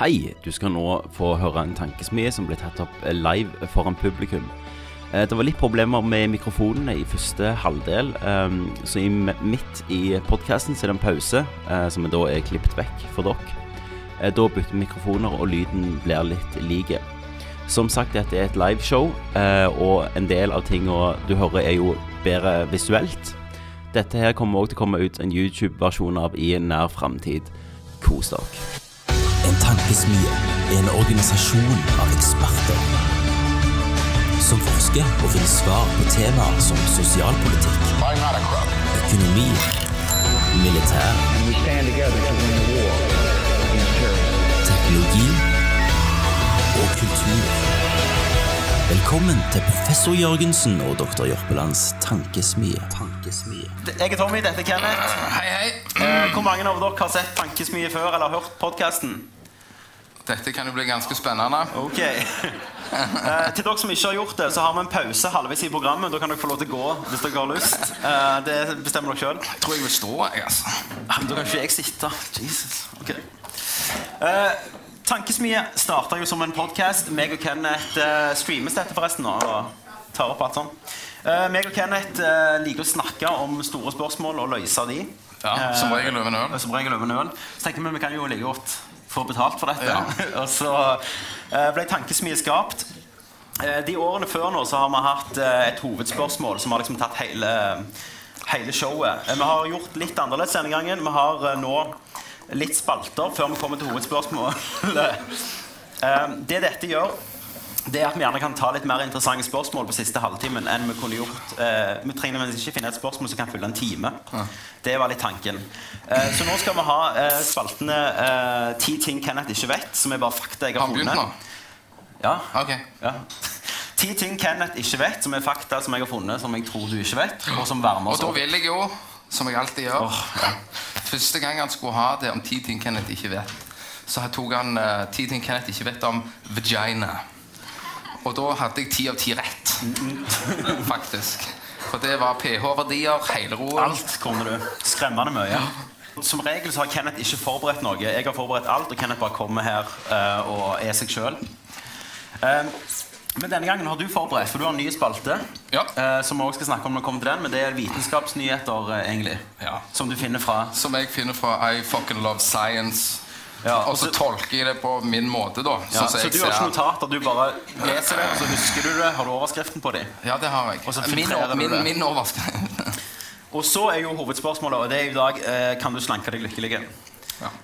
Hei, du skal nå få høre en tankesmie som ble tatt opp eh, live foran publikum. Eh, Det var litt problemer med mikrofonene i første halvdel, ehm, så i m- midt i podkasten er det en pause, eh, som da er klippet vekk for dere. Eh, Da bytter vi mikrofoner, og lyden blir litt like. Som sagt, dette er et liveshow, eh, og en del av tinga du hører, er jo bedre visuelt. Dette her kommer også til å komme ut en YouTube-versjon av i nær framtid. Kos dere. En tankesmie er en organisasjon av eksperter som forsker og finner svar på temaer som sosialpolitikk, økonomi, militær, We stand together to win the war against terrorism. teknologi og kultur. Velkommen til professor Jørgensen og doktor Jørpelands tankesmie. tankesmie. Jeg er Tommy, dette er Kenneth. Hei, hei. Eh, Hvor mange av dere har sett Tankesmie før eller hørt podkasten? Dette kan jo bli ganske spennende. Ok. Eh, til dere som ikke har gjort det, så har vi en pause halvveis i programmet. Da kan dere få lov til å gå hvis dere har lyst. Eh, det bestemmer dere sjøl. Jeg tror jeg vil stå, jeg, altså. Men da kan ikke jeg sitte. Jesus. Ok. Eh, Tankesmie starta jo som en podkast. Meg og Kenneth eh, streames dette forresten nå. og tar opp alt sånn. Eh, meg og Kenneth eh, liker å snakke om store spørsmål og løse de. Ja, som Eh, regel over en øl. Som regel over en øl. Så tenker vi vi kan jo like godt få betalt for dette. Ja. og så eh, ble Tankesmie skapt. Eh, De årene før nå så har vi hatt eh, et hovedspørsmål som har liksom tatt hele, hele showet. Eh, Vi har gjort litt annerledes denne gangen. Vi har eh, nå litt spalter før vi kommer til hovedspørsmålet. Eh, Det dette gjør, det er at vi gjerne kan ta litt mer interessante spørsmål på siste halvtimen enn vi kunne gjort. Eh, Vi trenger nemlig ikke finne et spørsmål som kan fylle en time. Det var litt tanken. Eh, Så nå skal vi ha eh, spaltene eh, 'Ti ting Kenneth ikke vet', som er bare fakta jeg Har har han begynt nå? funnet. Ja, Ok. ja. Ti ting Kenneth ikke vet, som er fakta som jeg har funnet, som jeg tror du ikke vet, og som varmer Og oss da opp. vil jeg jo, som jeg alltid gjør Åh, Første gang han skulle ha det om ti ting Kenneth ikke vet, så tok han eh, ti ting Kenneth ikke vet om vagina. Og da hadde jeg ti av ti rett, faktisk. For det var pH-verdier, hele roen. Alt kommer du. Skremmende mye. Som regel så har Kenneth ikke forberedt noe. Jeg har forberedt alt, og Kenneth bare kommer her eh, og er seg sjøl. men denne gangen har du forberedt, for du har en ny spalte. Ja. eh, som vi også skal snakke om når vi kommer til den, men det er vitenskapsnyheter, eh, egentlig. Ja. Sånn Som du finner fra Som jeg finner fra I Fucking Love Science. Ja, og så og du- tolker jeg det på min måte, da. ja, sånn som Så jeg du har ser. ikke notater, du bare leser det, og så husker du det. Har du overskriften på dem? Ja, det har jeg. Og så min, filtrerer du min, det. min overskrift. Og så er jo hovedspørsmålet, og det er i dag eh, Kan du slanke deg lykkelig? Ja.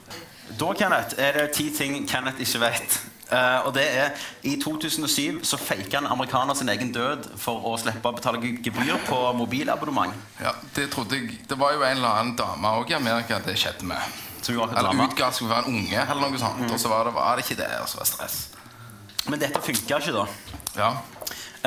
Da, Kenneth, er det ti ting Kenneth ikke vet. Eh, og det er I 2007 så faka en amerikaner sin egen død for å slippe å betale ge- gebyr på mobilabonnement. Ja, det trodde jeg Det var jo en eller annen dame også i Amerika det skjedde med. Så vi var ikke Eller drama. Mm. utga skulle være en unge, eller noe sånt. Og så var det, var det ikke det, og så var det stress. Men dette funka ikke, da. Ja.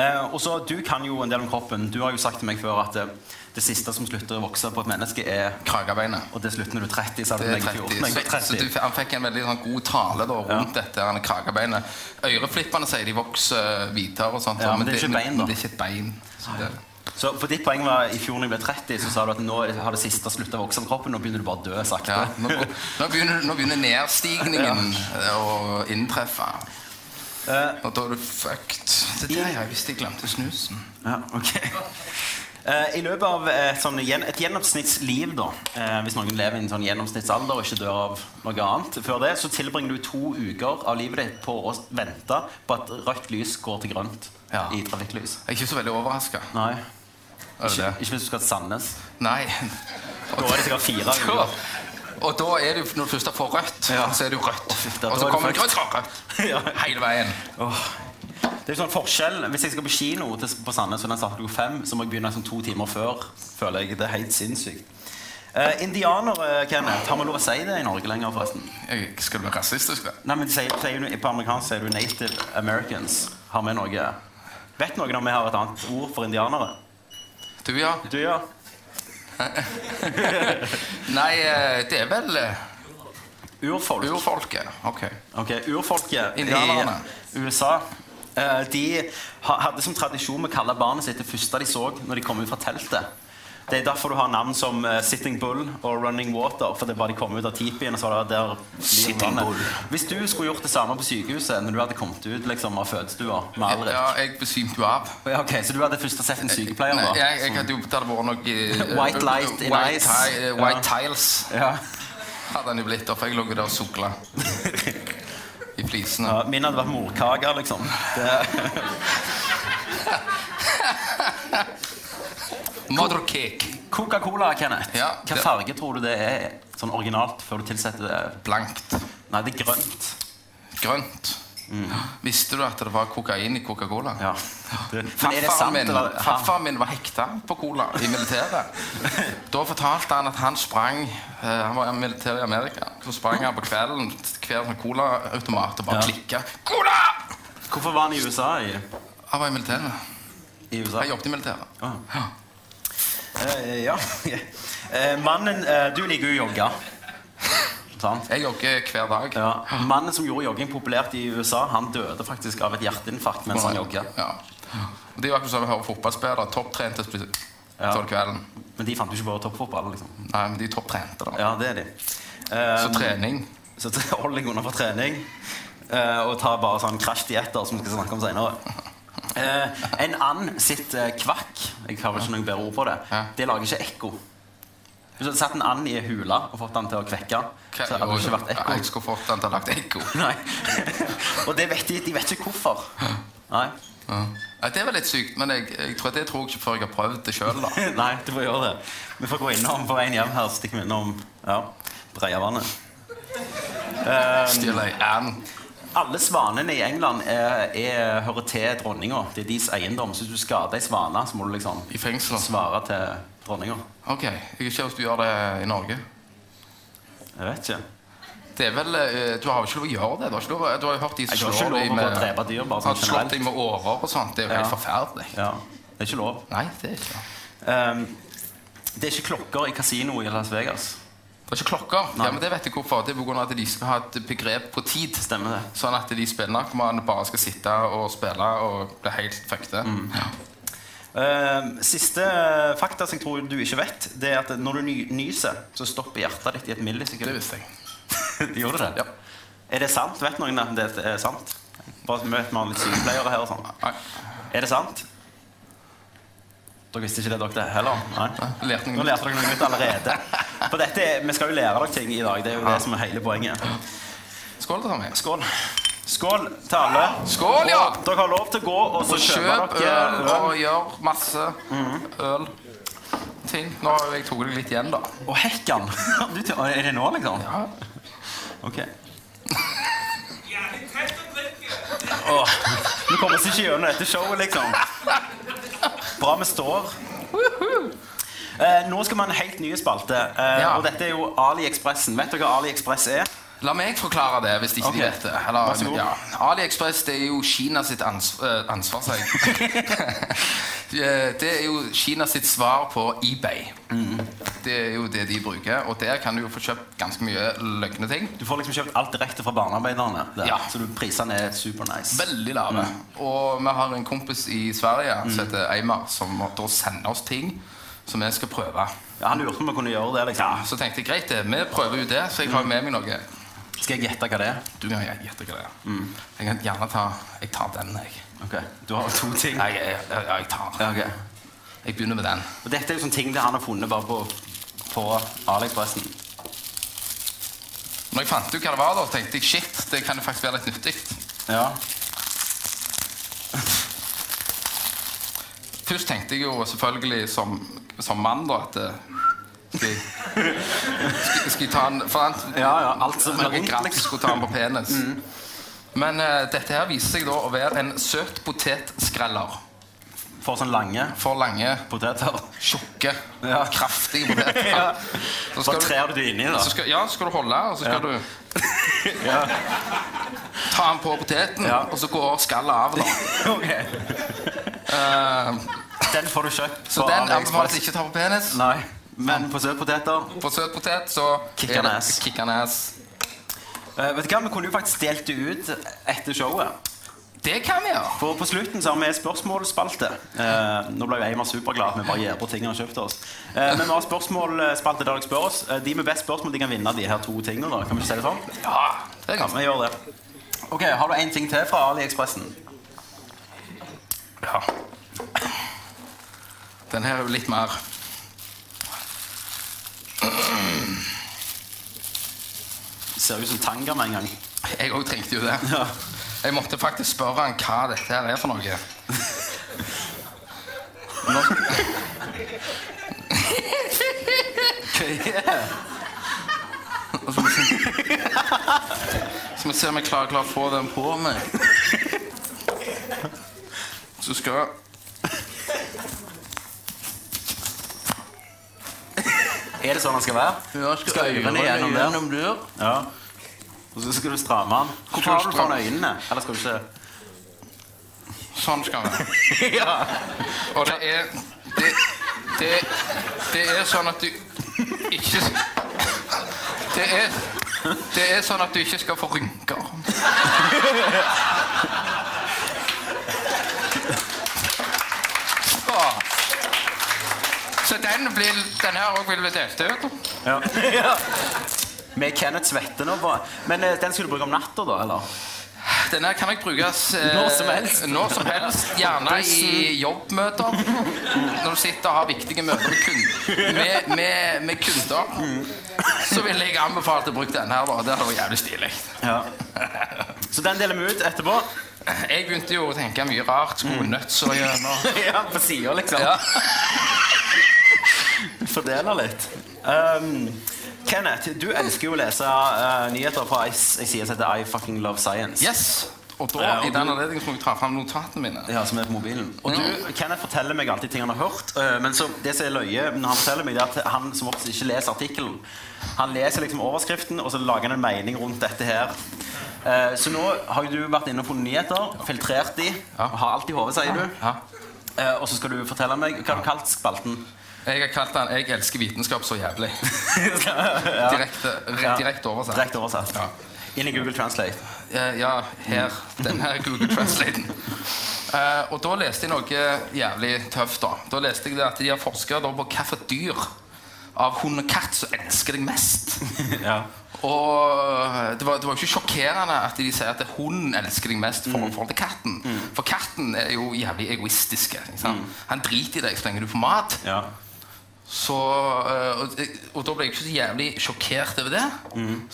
Eh, og så, Du kan jo en del om kroppen. Du har jo sagt til meg før at eh, det siste som slutter å vokse på et menneske, er Kragebeinet. Og det slutter når du er 30, sa du Det til er meg i 30. fjor. Nei, Så, så du, 30. han fikk en veldig sånn god tale da, rundt dette her kragebeinet. Øreflippene sier de vokser videre og sånt. Ja, men det er ikke bein, da. Men det er ikke et bein. Så det, Så for ditt poeng var i fjor når jeg ble 30, så sa du at nå har det siste slutta å vokse på kroppen. Nå begynner du bare å dø sakte. ja, nå, nå, begynner, nå begynner nedstigningen å inntreffe. Eh. Og da er du fucked. Det der, ja, hvis jeg glemte snusen. Ja, ok. Eh, I løpet av eh, sånn, gjen- et gjennomsnittsliv, da, eh, hvis noen lever i en sånn gjennomsnittsalder og ikke dør av noe annet før det, så tilbringer du to uker av livet ditt på å s- vente på at rødt lys går til grønt Ja. i trafikklys. Jeg er ikke så veldig overraska. Nei. Ikke, Ikke, ikke hvis du skal til Sandnes. Nei. Da er det sikkert fire Da, uker. og da er det jo, når du først har fått rødt, Ja. så er det jo rødt. fy, da- og da er så det kommer det fucked. grønt, grønt, grønt. Ja. Hele veien. Åh. Det er jo sånn forskjell, Hvis jeg skal på kino til, på Sandnes, og den starter klokka fem, så må jeg begynne sånn to timer før. føler jeg. Det er helt sinnssykt. Eh, indianere, Kenneth, har vi lov å si det i Norge lenger, forresten? Jeg, skal du være rasistisk, da? Nei, men de sier, sier du, På amerikansk sier du 'native americans'. Har vi noe Vet noen om vi har et annet ord for indianere? Du, ja. Du, ja. Nei, eh, det er vel eh, Urfolk. urfolket. Ok. Ok, Urfolket i Indianerne. USA eh, De ha- hadde som tradisjon med å kalle barnet sitt det første de så når de kom ut fra teltet. Det er derfor du har navn som eh, Sitting Bull og Running Water. For det er bare de kom ut av tipien, og så var det der blir Sitting vannet. Bull. Hvis du skulle gjort det samme på sykehuset når du hadde kommet ut liksom, av fødestua med Alrik Ja, jeg besvimte jo av. ja, ok, Så du hadde først sett en sykepleier, Nei, da? jeg, jeg hadde jo det hadde vært noe eh, White light in white ice. ti- eh, Ja. White tiles Ja. hadde han jo blitt, da, for jeg lå jo der og sukla i flisene. Ja, min hadde vært morkake, liksom. Det, Mothercake. Coca-Cola, Kenneth. Ja, Hva det- farge tror du det er sånn originalt før du tilsetter det? Blankt. Nei, det er grønt. Grønt. Visste du at det var kokain i Coca-Cola? Ja. Det, men er det Farfaren sant, min, eller? Ja. farfaren min var hekta på cola i militæret. Da fortalte han at han sprang eh, Han var i militæret i Amerika. Så sprang han på kvelden til hver sånn colaautomat og bare Ja. klikka. Cola! Hvorfor var han i USA? I, Han var i militæret. i USA? Jeg jobbet i militæret. Ah. Ja. Eh, ja. Eh, mannen eh, Du liker jo å jogge. Sant? Jeg jogger hver dag. Ja. Mannen som gjorde jogging populært i USA, han døde faktisk av et hjerteinfarkt mens han jogga. Ja. Og Det er jo akkurat som å høre fotballspillere. Topptrente så plutselig- Ja. så er det kvelden. Men de fant jo ikke bare toppfotball. liksom. Nei, men de er topptrente, da. Ja, det er de. Så Eh, trening Så t- hold deg unna for trening, eh, og ta bare sånn krasjdietter som vi skal snakke om senere. Eh, en and sitt eh, kvakk Jeg har vel ikke noe bedre ord på det. Ja. Det lager ikke ekko. Hvis du hadde satt en and i ei hule og fått den til å kvekke, så hadde det ikke vært Ja, Jeg ekko. skulle fått den til å ha lagt ekko. Nei. og det vet de, de vet ikke hvorfor. Nei. Ja. Ja, Det var litt sykt, men jeg, jeg tror det tror jeg ikke før jeg har prøvd det sjøl. Nei, du får gjøre det. Vi får gå innom på veien hjem her. så Stikker vi innom ja, Breiavannet. Stjele ei and. Alle svanene i England er, er, hører til dronninga. Det er deres eiendom. Så hvis du skader ei svane, så må du liksom I fengsel. svare til dronninga. Ok, Jeg vet ikke hvordan du gjør det i Norge. Jeg vet ikke. Det er vel, eh, Du har jo ikke lov å gjøre det. Du har, ikke lov, du har jo hørt de som Jeg har ikke slår lov deg å med, bare drepe dyr, bare har sånn slått generelt. deg med årer og sånt. Det er jo helt Ja. forferdelig. Ja, det er ikke lov. Nei, det er ikke det. Ehm, det er ikke klokker i kasino i Las Vegas. Det er ikke klokker. Nei. Ja, men Det vet jeg hvorfor. Det er på grunn av at de skal ha et begrep på tid. Stemmer det. Sånn at de spillenarkomane bare skal sitte og spille og bli helt fuckede. Ja. Ehm, siste eh, fakta som jeg tror du ikke vet, det er at når du ny nyser, så stopper hjertet ditt i et Det millisekund. visste jeg. Gjorde det? Ja. Er det sant? Vet noen om det er sant? Bare møt med litt sykepleiere her og sånn. Nei. Er det sant? Dere visste ikke det dere heller? Nei. Lærte Nå noe lærte dere noe nytt allerede. For dette, er- vi skal jo lære dere ting i dag. Det er jo det som er hele poenget. Skål, Tommy. Skål. Skål til alle. Skål, ja! Og Dere har lov til å gå og så Og kjøpe kjøp øl dere eh, og øl. gjør masse øl. Ting. Nå har jo jeg tatt deg litt igjen, da. Og hekkan. Du, t- er det nå, liksom? Ja. Ok. Åh, vi kommer oss ikke gjennom dette showet, liksom. Bra vi står. Eh, nå skal vi ha en helt ny spalte. Eh, Ja. Og dette er jo AliExpressen. Vet dere hva AliExpress er? La meg forklare det, hvis ikke Ok. de vet det. Vær så god. ja. AliExpress det er jo Kina sitt ans eh, ansvar, sier jeg. Eh, det er jo Kina sitt svar på eBay. Mm. Det er jo det de bruker. Og der kan du jo få kjøpt ganske mye løgne ting. Du får liksom kjøpt alt direkte fra barnearbeiderne. der. Ja. Så du, prisene er supernice. Veldig lave. Mm. Og vi har en kompis i Sverige Mm. som heter Eimar, som da sender oss ting som vi skal prøve. Ja, han lurte på om vi kunne gjøre det. liksom. Så tenkte jeg greit, det, vi prøver ut det, så Mm. jeg har jo med meg noe. Skal jeg gjette hva det er? Du kan gjette hva det er. Mm. Jeg kan gjerne ta Jeg tar den, jeg. Ok, Du har to ting. Nei, jeg, jeg, jeg, jeg tar Ja, ok. Jeg begynner med den. Og dette er jo sånne ting det han har funnet bare på, på AliExpressen. Når jeg fant ut hva det var, da, tenkte jeg shit, det kan jo faktisk være litt nyttig. Ja. Først tenkte jeg jo selvfølgelig som, som mann, da, at eh, skal jeg, skal, skal jeg ta den For han, Ja, ja, alt som er noen vondt, grabb liksom. Mm. skulle ta den på penis. Men eh, dette her viser seg da å være en søt potetskreller For sånne lange for lange, poteter. tjukke, Ja. kraftige poteter. Ja. Så skal Bare du- trer du det inni, da. Så skal, ja, så skal du holde, og så skal Ja. du Ta den på poteten, Ja. og så går skallet av. Da. Eh, Ok. Den får du kjøpt på Så den anbefales AliExpress. ikke å ta på penis. Nei, men på søtpoteter På søt potet, så Kick an ass. Kick an ass. Eh, Vet du hva, Vi kunne jo faktisk delt det ut etter showet. Det kan vi gjøre. For på slutten så har vi en spørsmålsspalte. Eh, nå ble jo Eimar superglad at vi bare gir bort tingene han kjøpte oss. Eh, men vi har spørsmålsspalte der dere spør oss. Eh, de med best spørsmål de kan vinne de her to tingene. da. Kan vi ikke si det sånn? Ja, det Kan er ganske vi gjøre det? Ok, Har du en ting til fra AliExpressen? Ja. Den her er jo litt mer Ser ut som tanga med en gang. Jeg òg trengte jo det. Ja. Jeg måtte faktisk spørre han hva dette her er for noe. Nå... Og Så må vi se- så må vi se om jeg klarer, klarer å få den på meg. Så skal jeg Er det sånn den skal være? Ja, Skal øynene gjennom der? der? Ja. Og så skal du stramme den. Hvor Skal du har du foran stramme? øynene? Eller skal du ikke Sånn skal det. Ja. Og det er det, det, det er sånn at du ikke Det er det er sånn at du ikke skal få rynker. Så, så den, blir, den her òg vil bli delt ut. Ja. Med Kenneth svette nå. bare. Men eh, den skal du bruke om natta, da? eller? Den her kan jeg brukes eh, Når som helst. Når som helst gjerne i jobbmøter. Når du sitter og har viktige møter med, kun, med, med, med kunder. Så ville jeg anbefalt å bruke den her. da. Det hadde vært jævlig stilig. Ja. Så den deler vi ut etterpå. Jeg begynte jo å tenke mye rart. Skulle nøtser gjennom Mm. ja, på sida, liksom. ja. Fordeler litt. Um, Kenneth, du elsker jo å lese eh, nyheter fra ei s- ei side som heter I fucking love science. Yes. Og da, Ja, og i den du- anledning må jeg ta fram notatene mine. Ja, som er på mobilen. Og du, Mm. Kenneth forteller meg alltid ting han har hørt. eh, men så, det som er løye når han forteller meg, det er at han som oftest ikke leser artikkelen. Han leser liksom overskriften, og så lager han en mening rundt dette her. Eh, så nå har jo du vært inne på nyheter, filtrert de, Ja. har alt i hodet, sier du. Ja. Eh, og så skal du fortelle meg hva har du kalt spalten. Jeg har kalt den 'Jeg elsker vitenskap så jævlig'. ja. Direkte, re, Ja. direkte oversatt. Direkte oversatt. Ja. Inn i Google Translate. Eh, Ja, her. Den her Google Translaten. Eh, og da leste jeg noe jævlig tøft. Da Da leste jeg det at de har forsket da på hvilket dyr av hund og katt som elsker deg mest. Ja. Og det var, det var jo ikke sjokkerende at de sier at hunden elsker deg mest for forhold til katten. For katten er jo jævlig egoistisk. Ikke sant? Han driter i deg så lenge du får mat. ja. Så, eh, og, og da ble jeg ikke så jævlig sjokkert over det.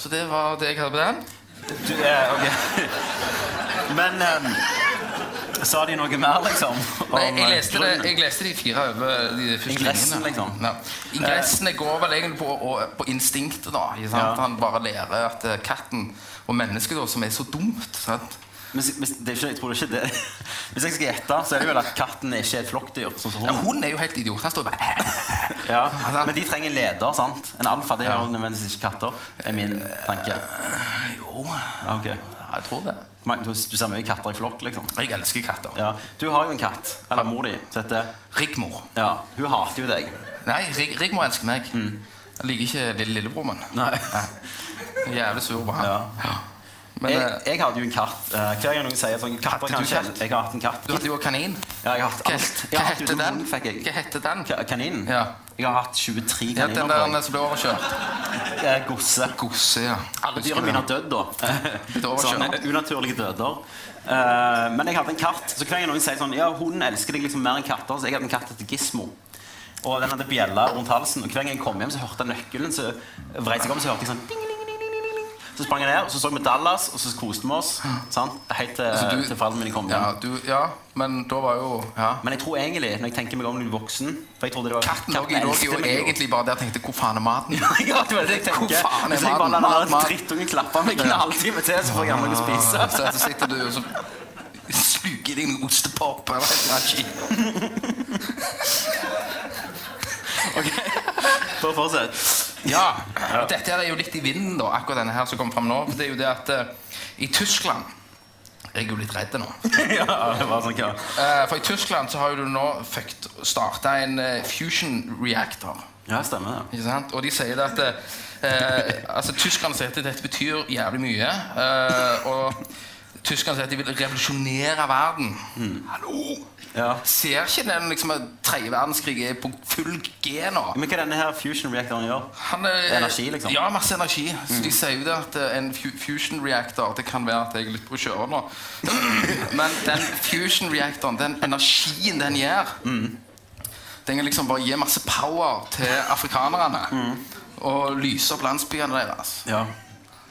Så det var det jeg hadde på den. Du, eh, ok. Men eh, sa de noe mer, liksom? Nei, jeg, eh, leste det, grunnen? jeg leste de fire over eh, de første Ingressen, linjene. liksom. Ja. Ingressene går vel egentlig på, å- på instinktet. da ikke sant? Ja. Han bare lærer at eh, katten og mennesket da, som er så dumt sant? Men, men det er ikke, jeg tror det er ikke det. Hvis jeg skal gjette, så er det vel at katten er ikke er et flokkdyr. Sånn som ja, hunden. Hun er jo helt idiot. Han står bare Ja. Men de trenger en leder, sant? En alfa. Det er jo nødvendigvis ikke katter. er min tanke. Jo, Ja, ok. ja, jeg tror det. Men Du du ser mye katter i flokk, liksom. Jeg elsker katter. Ja. Du har jo en katt. Eller mor di. som heter- Rigmor. Ja. Hun hater jo deg. Nei, Rig Rigmor elsker meg. Mm. Jeg liker ikke lille lillebror min. Nei. Jeg er Jævlig sur på han. Ja. Ja. Men Jeg, eh, jeg hadde jo en katt. Eh, Hver gang noen sier sånn katter Hadde kan du ikke katt? Jeg har hatt en katt. du hadde jo kanin. Ja, jeg har hatt Hva, alt. Jeg hva har hatt heter uten den? hund, fikk jeg. Hva heter den? Ka- Kaninen? Ja. Jeg har hatt 23 Ja, den kaniner. der den som ble overkjørt. på meg. Eh, Gosse. Gosse, ja. Alle dyrene mine har dødd, da. overkjørt. Sånne unaturlige døder. Eh, men jeg hadde en katt. Så hver gang noen sier sånn Ja, hunden elsker deg liksom mer enn katter. Så jeg hadde en katt etter Gismo. Og den hadde bjella rundt halsen. Og hver gang jeg kom hjem, så hørte jeg nøkkelen. Så vrei seg om, så hørte jeg sånn ding, ding, ding, ding, ding, ding. Så sprang jeg ned, og så så vi Dallas, og så koste vi oss. Sant? Helt til, Så du- til foreldrene mine kom hjem. Ja, du, ja, men da var jo ja. Men jeg tror egentlig, når jeg tenker meg om litt voksen for jeg trodde det var Katten lå jo- lå elsket jo meg egentlig bare der og tenkte 'hvor faen er maten?' Ja, det var det jeg Hvor tenker. faen er Hvis jeg bare lar maten? den Mat, der mat. dritungen klappe meg en halvtime til, så får jeg gjerne noe å Så, spise. så sitter du og så sluker deg med ostepop eller et eller annet shit. For å fortsette. Ja, og Dette her er jo litt i vinden, da, akkurat denne her som kom fram nå. for Det er jo det at eh, i Tyskland Jeg er jo litt redd nå. Ja, det var sånn, ja. Eh, for i Tyskland så har jo du nå starta en eh, fusion reactor. Ja, stemmer det. Ikke sant? Og de sier det at eh, eh, altså, Tyskerne sier at dette betyr jævlig mye. eh, og Tyskerne sier at de vil revolusjonere verden. Hallo! Ja. Ser ikke den liksom, at tredje verdenskrig er på full G nå? Men hva denne her fusion reactoren gjør? Han er, Energi, liksom. Ja, masse energi. Så de sier jo det at eh, en fu fusion reactor Det kan være at jeg er litt på å kjøre nå. Men den fusion reactoren, den energien den gir, den kan liksom bare gi masse power til afrikanerne. Og lyse opp landsbyene deres. Ja.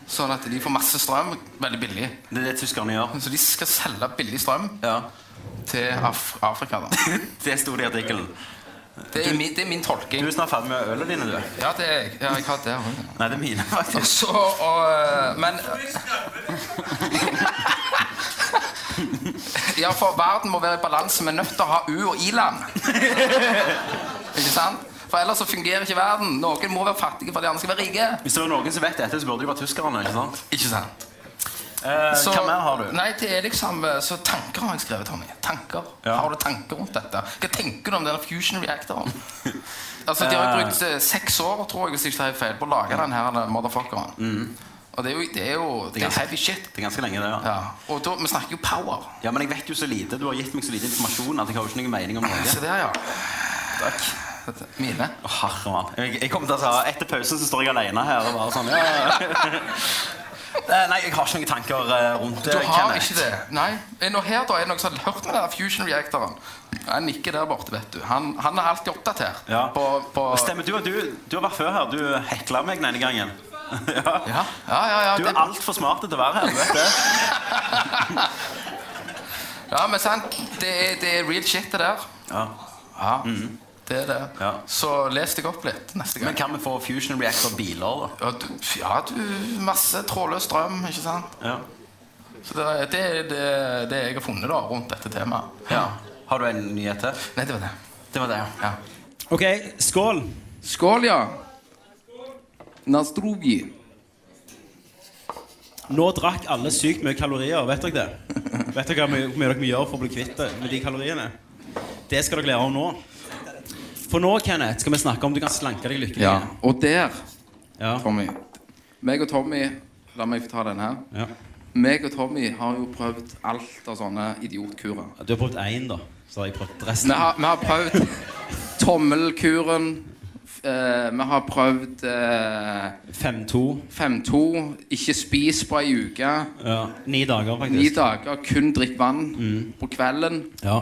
Sånn at de får masse strøm veldig billig. Det er det tyskerne gjør. Så de skal selge billig strøm Ja. til Af Afrika. da. Det sto det i artikkelen. Det er min, det er min Du tolking. er snart ferdig med ølene dine, du. Ja, det er jeg. Ja, jeg har det også, ja. Nei, det er mine, Og faktisk. så og, eh, Men Ja, for verden må være i balanse. Vi er nødt til å ha U- og I-land. Ikke sant? For ellers så fungerer ikke verden. Noen må være fattige for de andre skal være rike. Hvis det var noen som vet dette, så burde det jo være tyskerne. ikke sant? Ikke sant? Eh, hva mer har du? Nei, det er liksom eh, Så tanker har jeg skrevet, Tommy. Tanker. Ja. Har du tanker rundt dette? Hva tenker du om denne fusion reactoren? altså, De har jo brukt eh, seks år, tror jeg, hvis jeg ikke tar feil, på å lage den her eh, motherfuckeren. Og det er jo Det er jo det er ganske- heavy shit. Det er ganske lenge, det. ja. Ja, og da, vi snakker jo power. Ja, men jeg vet jo så lite. Du har gitt meg så lite informasjon at jeg har jo ikke noen mening om Se Norge. der, ja. Takk. Dette- Mine. Å, Herre mann. Jeg, jeg kommer til å si, Etter pausen så står jeg alene her og bare sånn ja, ja. Eh, Nei, jeg har ikke noen tanker eh, rundt Du det. har Kenneth. ikke det. Nei. Er nå her da, er det noen som har hørt om den der fusion reactoren? Han nikker der borte, vet du. Han, han er alltid oppdatert. Ja. På, på Stemmer du at du, du har vært før her? Du hekla meg den ene gangen. Ja. Ja, ja, ja. ja, Du det, er altfor smart til å være her. du vet det. ja men sant, det er, det er real shit, det der. Ja. Ja, det er det. Mhm. Ja. Så les deg opp litt neste Men gang. kan vi få fusion reactor-biler, da? Ja, du, ja, du Masse trådløs strøm, ikke sant? Ja. Så det er det, er- det, er det jeg har funnet da, rundt dette temaet. ja. Har du en nyhet til? Nei, det var det. Det var det, Ja. OK, skål. Skål, ja. Nastrovji. Nå drakk alle sykt mye kalorier, vet dere det? Vet dere hva mye mye dere må gjøre for å bli kvitt det med de kaloriene? Det skal dere lære om nå. For nå, Kenneth, skal vi snakke om du kan slanke deg lykkelig. Ja. Og der, Ja. Tommy Meg og Tommy La meg få ta den her. Ja. Meg og Tommy har jo prøvd alt av sånne idiotkurer. Du har prøvd én, da. Så har jeg prøvd resten. Vi har, vi har prøvd tommelkuren. f- eh, vi har prøvd eh, 5-2. 5-2. Ikke spis på ei uke. Ja. Ni dager, Ni faktisk. dager. Kun drikk vann Mm. på kvelden. Ja.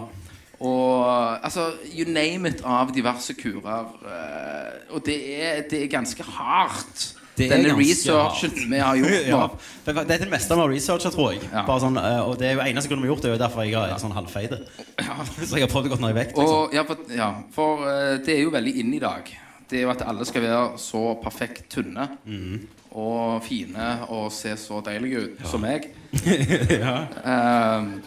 Og altså, you name it av diverse kurer. eh, og det er, det er ganske hardt, Det er denne ganske researchen hardt. vi har gjort nå. Ja. Det er det meste vi har researcha, tror jeg. Ja. Bare sånn, eh, og det er jo eneste grunnen vi har gjort det, er jo derfor jeg er sånn halvfeit. Så jeg har prøvd å gå ned i vekt. Liksom. Og, ja, for, ja, for eh, det er jo veldig inn i dag. Det er jo at alle skal være så perfekt tynne Mhm. og fine og se så deilige ut som meg. liksom. Ehm,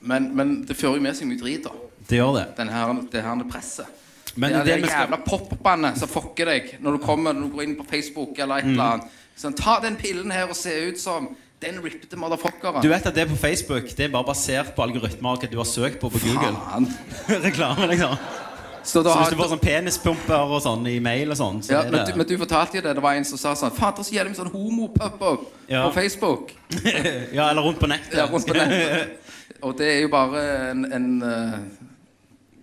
men, men det fører jo med seg mye drit, da. Det gjør det. Den her, det her presset. Men det er det det, vi skal- jævla pop-bandet som fucker deg når du kommer når du går inn på Facebook eller et Mhm. eller annet. Sånn, ta den pillen her og se ut som den rippete motherfuckeren. Du vet at det på Facebook det er bare basert på algoritmer og hva du har søkt på på Google. Faen. Reklame, liksom. Så da Så har- hvis du får sånn penispumper og sånn i mail og sånn, så Ja, er men du, det men du fortalte jo det. Det var en som sa sånn Faen, det er så jævlig mye sånn homopup-up Ja. på Facebook. Ja, eller rundt på nettet. Ja, rundt på nettet. Og det er jo bare en, en eh,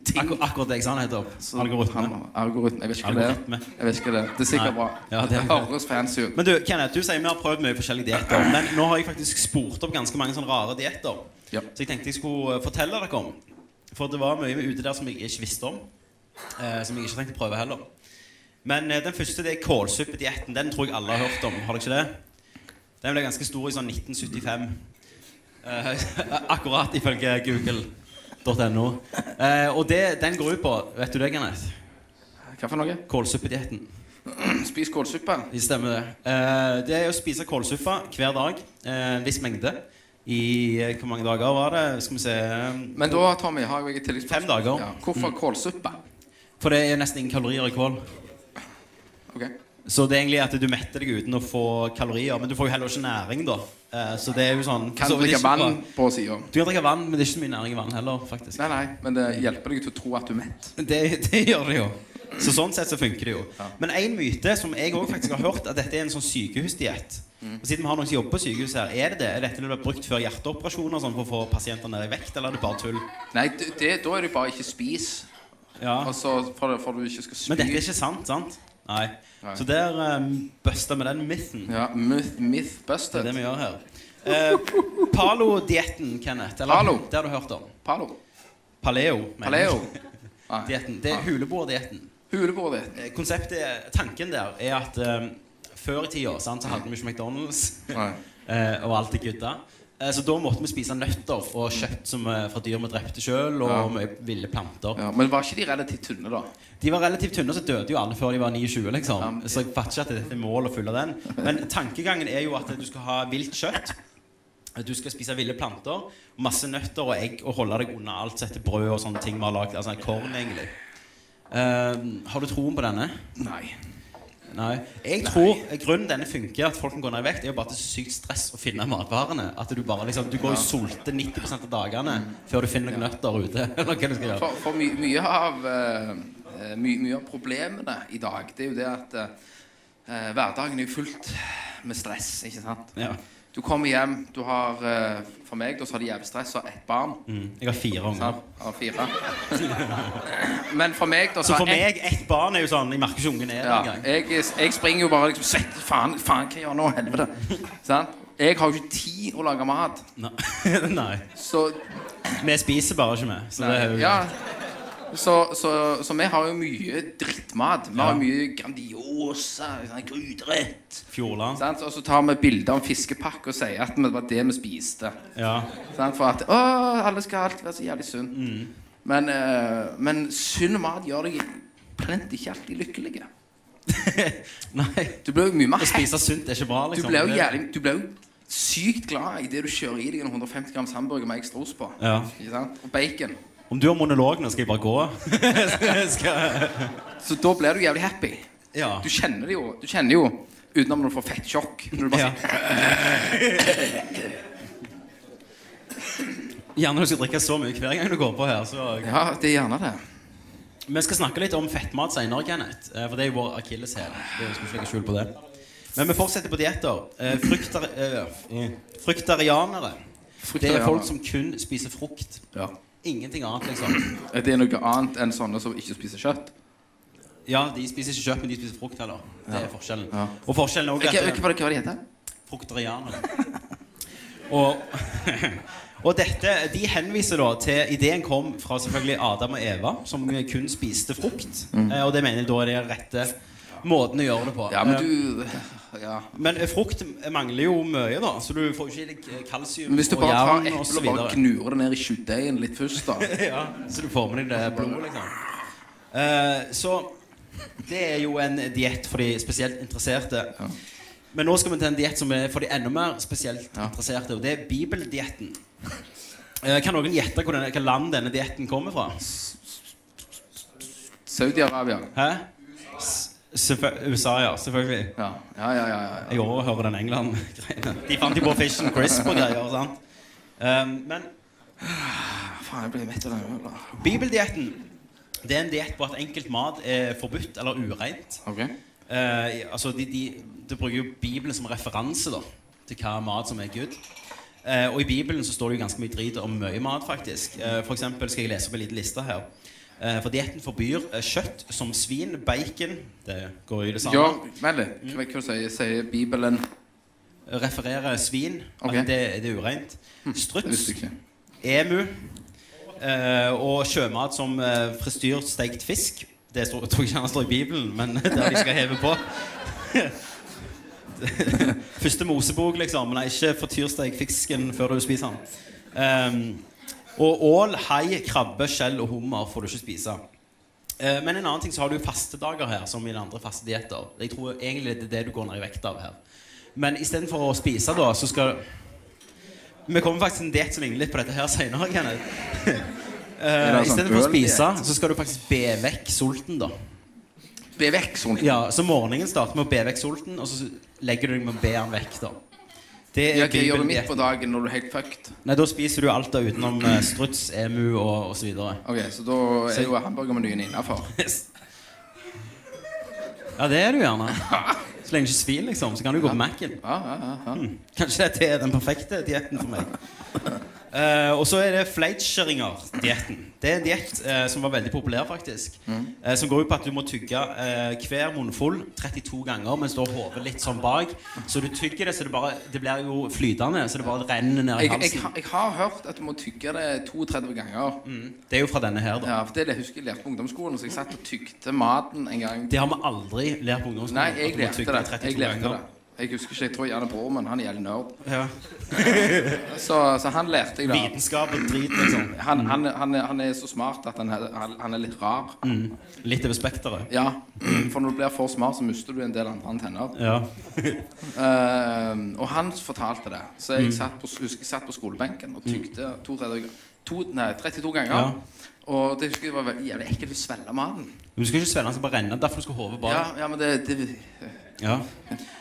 ting Akkur akkurat det jeg sa han het opp. som- Algoritme. han- Algoritme. Jeg vet ikke hva det Algoritme. er. Jeg vet ikke hva det er. Det er Nei. sikkert bra. Ja, det det, er det. høres fancy ut. Men du, Kenneth, du sier vi har prøvd mye forskjellige dietter. Men nå har jeg faktisk spurt opp ganske mange sånne rare dietter. Ja. Så jeg tenkte jeg skulle eh, fortelle dere om. For det var mye ute der som jeg ikke visste om. Eh, som jeg ikke tenkte å prøve heller. Men eh, den første det er kålsuppedietten. Den tror jeg alle har hørt om. Har dere ikke det? Den ble ganske stor i sånn 1975. Eh, akkurat ifølge google.no. Eh, og det den går ut på, vet du det, Kenneth? Hva for noe? Kålsuppedietten. Spis kålsuppe. Det stemmer det. Eh, det er å spise kålsuppe hver dag, eh, en viss mengde. I eh, hvor mange dager var det? Skal vi se eh, Men da, Tommy, har jeg et tilleggsspørsmål. Fem dager. Mm. Ja. Hvorfor kålsuppe? For det er nesten ingen kalorier i kål. Ok. Så det er egentlig at du metter deg uten å få kalorier. Men du får jo heller ikke næring, da. Eh, så det er jo sånn Kan så du det er drikke ikke bra. vann på sida? Du kan drikke vann, men det er ikke så mye næring i vann heller, faktisk. Nei, nei, men det hjelper deg til å tro at du er mett. Det, det gjør det jo. Så sånn sett så funker det jo. Men én myte som jeg òg faktisk har hørt, at dette er en sånn sykehusdiett. Mm. Og Siden vi har noen som jobber på sykehus her, er det det? Er dette det blir brukt før hjerteoperasjoner og sånn for å få pasienter ned i vekt, eller er det bare tull? Nei, det, det, da er det bare ikke spis. Ja. Og så for, for du ikke skal spy. Men dette er ikke sant, sant? Nei. Nei. Så der um, busta vi den mythen. Ja, myth, myth Det er busted. det vi gjør her. Eh, Palo-dietten, Kenneth. Eller Palo. det har du hørt om. Palo. Paleo. mener jeg. Paleo. Nei. Dietten. Det er huleboerdietten. Hulebordet ditt. Eh, Konseptet, tanken der, er at eh, før i tida sant, så hadde vi ikke McDonald's Nei. eh, og alt det gutta. Eh, så da måtte vi spise nøtter og kjøtt som, eh, fra dyr vi drepte sjøl, og Ja. mye ville planter. Ja, men var ikke de relativt tynne, da? De var relativt tynne, så døde jo alle før de var 29, liksom. Ja, men- Så jeg fatter ikke at dette er målet å fylle den. Men tankegangen er jo at du skal ha vilt kjøtt. at Du skal spise ville planter, masse nøtter og egg og holde deg unna alt sett til brød og sånne ting vi har lagd. Altså korn, egentlig. Eh, har du troen på denne? Nei. Nei. Jeg tror grunnen denne funker, at folk kan gå ned i vekt, er jo bare at det er sykt stress å finne matvarene. At du bare liksom Du går jo solte 90 av dagene før du finner noen nøtter ute. Eller hva du skal gjøre. For, for my, mye av eh, my, Mye av problemene i dag, det er jo det at eh, hverdagen er jo fullt med stress, ikke sant? Ja. Du kommer hjem, du har eh, For meg, da, så har de jævlig stress og har ett barn. Mm. Jeg har fire unger. sant? Av fire. Men for meg, da, Så har for ett- meg, ett barn er jo sånn Jeg merker ikke ungen er der Ja, engang. jeg, jeg springer jo bare liksom Svett, faen, faen, hva gjør jeg nå? Helvete. Sant? Jeg har jo ikke tid å lage mat. Nei. Nei. Så, Vi spiser bare ikke, vi. Så det er jo ja. så, så, så vi har jo mye drittmat. Vi har jo mye Grandiosa, sånn gryterett. Fjordland. Sant? Og så tar vi bilder av en fiskepakke og sier at det var det vi spiste. Ja. Sant? For at Å, alle skal alltid være så jævlig sunn. Mm. Men, eh, men sunn mat gjør deg plenty ikke alltid lykkelig. Nei. Du blir jo mye mer Å happy. spise sunt er ikke bra, Du liksom. blir jo jævlig Du blir jo sykt glad i det du kjører i deg en 150 grams hamburger med ekstra ost på. Ja. Ikke sant? Og bacon. Om du har monolog nå, skal jeg bare gå? skal... Så da blir du jævlig happy. Ja. Du kjenner det jo. Du kjenner jo Utenom når du får fettsjokk. Når du bare Ja. sier Gjerne du skal drikke så mye hver gang du går på her, så ja, det er gjerne det. Vi skal snakke litt om fettmat senere, Kenneth. eh, For det er jo vår akilleshæl. Det er jo- skal vi ikke legge skjul på det. Men vi fortsetter på dietter. Eh, Fruktar... Mm. eh, Fruktarianere. Det er folk som kun spiser frukt. ja. Ingenting annet, liksom. Det er noe annet enn sånne som ikke spiser kjøtt. Ja, de spiser ikke kjøtt, men de spiser frukt heller. Det er forskjellen. Ja. Og forskjellen er Hva, også at hva, eh, hva, hva det heter fruktarianere. Og, og dette, de henviser da til Ideen kom fra selvfølgelig Adam og Eva, som kun spiste frukt. Eh, Og det mener jeg da er den rette måten å gjøre det på. Mm. Ja, men du Ja. Eh, men frukt mangler jo mye, da, så du får jo ikke i deg eh, kalsium Men hvis du og bare tar jern og eplet så og bare videre. gnurer det ned i kjøttdeigen litt først, da ja, så du får med deg det blodet, liksom. Eh, så det er jo en diett for de spesielt interesserte. Men nå skal vi til en diett som er for de enda mer spesielt Ja. interesserte, og det er bibeldietten. Eh, kan noen gjette hvor denne- hva land denne dietten kommer fra? Saudi-Arabia. Hæ? S- selvfø- USA, ja. Selvfølgelig. Ja, ja, ja. ja, ja. Jeg overhører den England-greia. De fant jo på Fish and Crisp og greier. sant? Um, men Faen, jeg blir mett av den ølen. da. bibeldietten det er en diett hvor at enkelt mat er forbudt eller ureint. Ok. Eh, altså de, de, de bruker jo Bibelen som referanse da, til hva mat som er good. Eh, og i Bibelen så står det jo ganske mye drit om mye mat, faktisk. Eh, for eksempel skal jeg lese opp en liten liste her. Eh, for dietten forbyr eh, kjøtt som svin, bacon Det går jo i det samme. Ja, vent litt. Hva hva sier, sier Bibelen? Refererer svin. Ok. Hm, At det, det er ureint. Det Struts, visste jeg ikke. emu eh, og sjømat som eh, fristyrt steikt fisk. Det står- tror jeg ikke han står i Bibelen, men det er det de skal heve på. Første Mosebok, liksom. Nei, ikke fortyrsteg fisken før du spiser den. Ehm, og ål, hai, krabbe, skjell og hummer får du ikke spise. Eh, men en annen ting så har du jo fastedager her, som i den andre faste dietter. Jeg tror egentlig det er det du går ned i vekt av her. Men istedenfor å spise, da, så skal Vi kommer faktisk til en diett som ligner litt på dette her senere, Kenneth. Er Uh, det en sånn istedenfor å øldiett? spise, så skal du faktisk be vekk sulten, da. Be vekk, sånn. Ja, Ja, så morgenen starter med å be vekk sulten, og så legger du deg med å be han vekk, da. Det er hva gjør du midt bibeldietten. på dagen når du er helt fucked? Nei, da spiser du alt da utenom eh, struts, emu og, og så videre. Ok, Så da er jo hamburgermenyen innafor. Ja, det er du gjerne. Så lenge du ikke svir, liksom, så kan du gå på Mac-en. Ja, ja, ja, ja. Mm. Kanskje dette er den perfekte dietten for meg. Eh, og så er det Fleitscheringer-dietten. Det er en diett eh, som var veldig populær, faktisk. Mm. Eh, som går ut på at du må tygge eh, hver munnfull 32 ganger mens du har hodet litt sånn bak. Så du tygger det, så det, bare, det blir jo flytende, så det bare renner ned i Jeg, jeg, halsen. har- jeg har hørt at du må tygge det 32 ganger. Det er jo fra denne her, da. Ja, for Det er det jeg husker jeg lærte på ungdomsskolen. Så jeg satt og tygde maten en gang. Det har vi aldri lært på ungdomsskolen. Nei, at jeg du må lærte tygge det. 32 Jeg lærte det. ganger. Jeg husker ikke, jeg tror gjerne broren min, han er jævlig nerd. Ja. Så, så han lærte jeg det. Vitenskap og drit, liksom. Han, han, han, er, han er så smart at han, han, han er litt rar. Mm. Litt over spekteret. Ja, for når du blir for smart, så mister du en del andre antenner. Ja. Eh, og han fortalte det. Så Mm. jeg satt på, husker jeg satt på skolebenken og tygde to, to, nei, 32 ganger. Ja. Og det husker jeg var veldig- jævlig ekkelt å svelge maten. Du skal ikke svenne, han skal bare renne. Derfor skal hodet Ja, bak. ja, men det, det, Ja.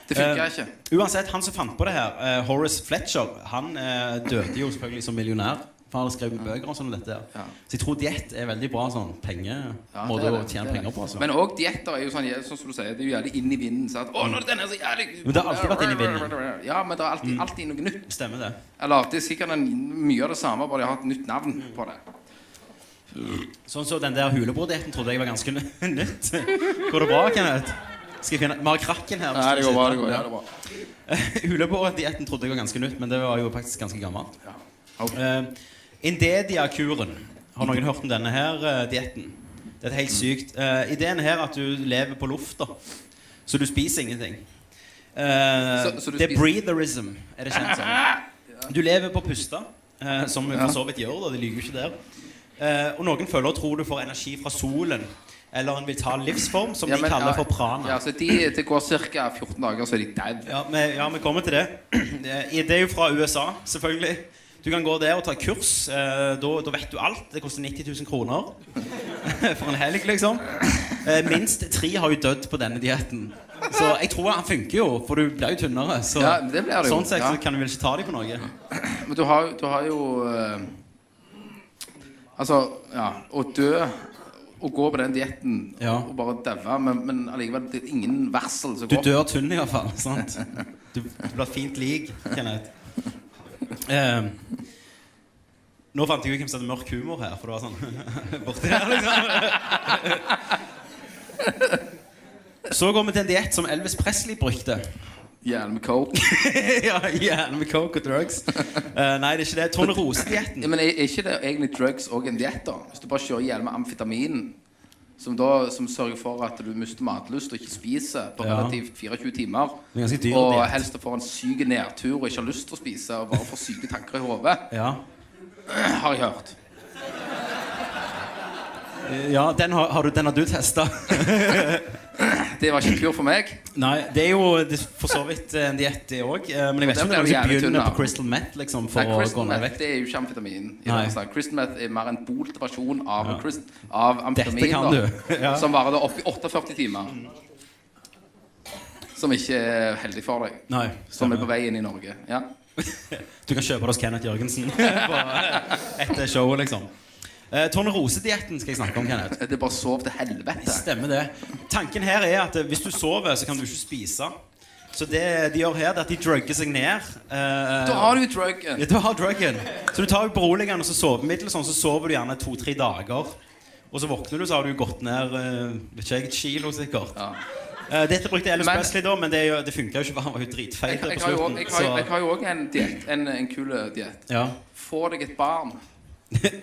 det funker Eh, ikke. Uansett, han som fant på det her, eh, Horace Fletcher, han eh, døde jo selvfølgelig som millionær. For han har skrevet bøker og sånn om dette. her. Ja. Så jeg tror diett er veldig bra sånn penge, Ja, det måte er å tjene det, det er penger det. på. Altså. Men, Men òg dietter er jo sånn, sånn som du sier, det er jo jævlig inn i vinden. Sant? Å, nå er det denne så jævlig Men det har alltid vært inn i vinden. Mm. Ja, men det er alltid, alltid noe nytt. Stemmer det. Eller det er sikkert en, mye av det samme, bare de har et nytt navn på det. Sånn som den der hulebordietten trodde jeg var ganske n- nytt. Går det bra, Kenneth? Skal jeg finne Vi har krakken her. hvis Nei, du det vil går bra. sitte. det går, ja, det er bra. Huleboerdietten trodde jeg var ganske nytt, men det var jo faktisk ganske gammelt. Ja. Ok. Eh, Indedia-kuren. Har noen hørt om denne her eh, dietten? Det er helt sykt. Eh, ideen her er at du lever på lufta, så du spiser ingenting. Eh, Så- så du det er spiser- breatherism, er det kjent som. Du lever på pusta, eh, som vi Ja. for så vidt gjør, da. De lyver jo ikke der. Eh, og noen følger og tror du får energi fra solen eller en vital livsform, som Ja, de men, kaller ja, for prana. Ja, så de, det går ca. 14 dager, så er de daud. Ja, vi, ja, vi kommer til det. Eh, Det er jo fra USA, selvfølgelig. Du kan gå der og ta kurs. eh, Da, da vet du alt. Det koster 90 000 kroner for en helg, liksom. Eh, Minst tre har jo dødd på denne dietten. Så jeg tror han funker jo, for du blir jo tynnere. Så Ja, det blir du jo, sånn sett ja. så kan du vel ikke ta dem på noe. Men du har, du har jo eh, Altså, ja Å dø Å gå på den dietten Ja. og bare daue, men, men allikevel det er ingen varsel som Du går dør tynn i hvert fall, sant? Du, du blir fint lik, Kenneth. Ehm, nå fant jeg ut hvem som hadde mørk humor her, for det var sånn borti der, liksom. Så går vi til en diett som Elvis Presley brukte. Gjerne med coke. ja, Gjerne med coke og drugs. Eh, nei, det er ikke det. Tone Rose-dietten. Ja, Men er er ikke det egentlig drugs og en diett, da? Hvis du bare kjører i hjel med amfetamin, som, da, som sørger for at du mister matlyst og ikke spiser på Ja. relativt 24 timer, Det er ganske dyr og diett. helst får en syk nedtur og ikke har lyst til å spise og bare får syke tanker i hodet, Ja. har jeg hørt. Eh, ja, den har, har du, den har du testa. Det var ikke en kur for meg. Nei, det er jo det er for så vidt en diett, det òg. Men jeg vet ikke Og om det er noen den blir som jævlig tynn, begynner da. på Crystal Meth liksom, for å Nei, gå crystal ned i meth vekt. det er jo ikke amfetamin. i Nei. denne slag. Crystal meth er mer en bolt versjon av, crystal, av amfetamin. Dette kan da, du. Ja. Som varer da oppi 48 timer. Som ikke er heldig for deg. Nei, Som er stemmer. på vei inn i Norge. Ja. Du kan kjøpe det hos Kenneth Jørgensen på, eh, etter showet, liksom. Eh, Tone Rose-dietten skal jeg snakke om, Kenneth. Det er bare sov til helvete. Stemmer det. Tanken her er at eh, hvis du sover, så kan du ikke spise. Så det de gjør her, det er at de drugger seg ned. eh, Da har du jo druggen. Ja, du har druggen. Så du tar jo beroligende og så sovemiddel, sånn, så sover du gjerne to-tre dager. Og så våkner du, så har du gått ned eh, vet ikke jeg, et kilo, sikkert. Ja. Eh, dette brukte Ellis Men- Presley, da, men det, er jo- det funka jo ikke, for han var jo Jeg, dritfeit jeg, på har jo også- slutten. jeg, har jo- så- jeg har jo òg en diett. En, en kul diett. ja. Få deg et barn.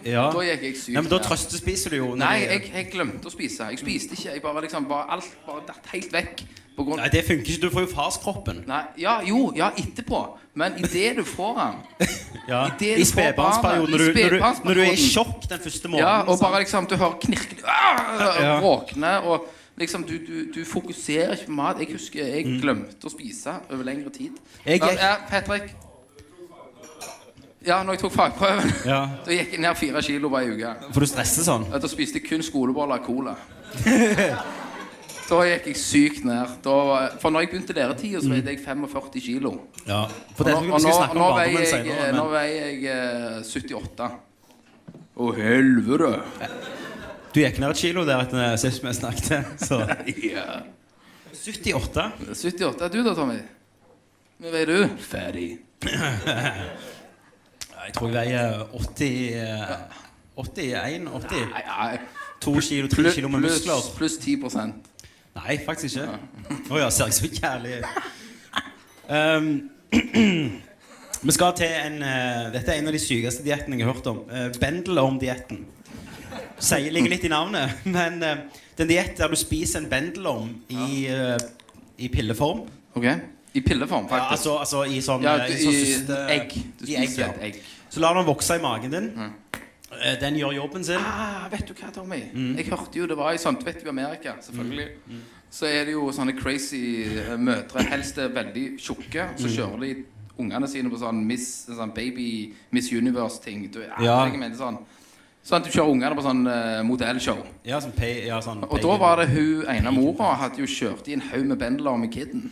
ja. Da gikk jeg sykt ja, men da ned. trøstespiser du jo. når Nei, du- jeg, jeg glemte å spise. Jeg spiste ikke. Jeg bare liksom, bare, alt bare datt helt vekk. På grunn Nei, det funker ikke. Du får jo farskroppen. Nei, ja, jo, ja, etterpå. Men idet du får den Ja. I det I du får barnet, spedbarnsperioden. Når, i du- når, du- når du er i spedbarnsperioden. sjokk den første måneden. ja, Og sant? bare liksom, du hører knirke ah, Ja. Våkne og liksom du, du, du fokuserer ikke på mat. Jeg husker jeg glemte å spise over lengre tid. Mm. Jeg Men, gikk- ja, Patrick. Ja, når jeg tok fagprøven, Ja. da gikk jeg ned fire kilo på ei uke. For du stresser sånn. Ja, Da spiste jeg kun skoleboller og cola. Da gikk jeg sykt ned. Da, var- for når jeg begynte læretida, så veide jeg Mm. 45 kilo. Ja. For det Og nå, er og vi nå, skal snakke nå, om veier barndommen jeg, senere. nå Men veier jeg eh, 78. Å, helvete! du gikk ned et kilo der etter sist vi snakket. Så. Ja. 78. 78 er du da, Tommy? Hvor veier du? Ferdig. Jeg tror jeg veier 80 eh, 81, 80. Nei, nei. 2 kilo, 3 Pluss, kilo med muskler. altså. pluss 10 Nei, faktisk ikke. Å ja, ser jeg så jævlig Ehm, Vi skal til en eh, Dette er en av de sykeste diettene jeg har hørt om. Uh, Bendelorm-dietten. Sier- Ligger litt i navnet, men eh, det er en diett der du spiser en bendelorm i, eh, i pilleform. Ok? I pilleform, Ja, faktisk. altså, altså i sånn, Ja, eh, du- i sånn i syste- egg. Du i egg, spiser ja. et egg. Så lar den vokse i magen din. Eh, Den gjør jobben sin. Ah, vet du hva, Tommy? Mm. Jeg hørte jo det var i sånt Vet du, i Amerika, selvfølgelig. Så er det jo sånne crazy eh, mødre, helst er veldig tjukke, så Mm. kjører de ungene sine på sånn Miss, sånn baby Miss Universe-ting. Du, ah, Ja. jeg mener sånn. Sånn at du kjører ungene på sånn eh, modellshow. Ja, sånn pay, ja, sånn Og da var det hun ene mora hadde jo kjørt i en haug med bendeler med kidden.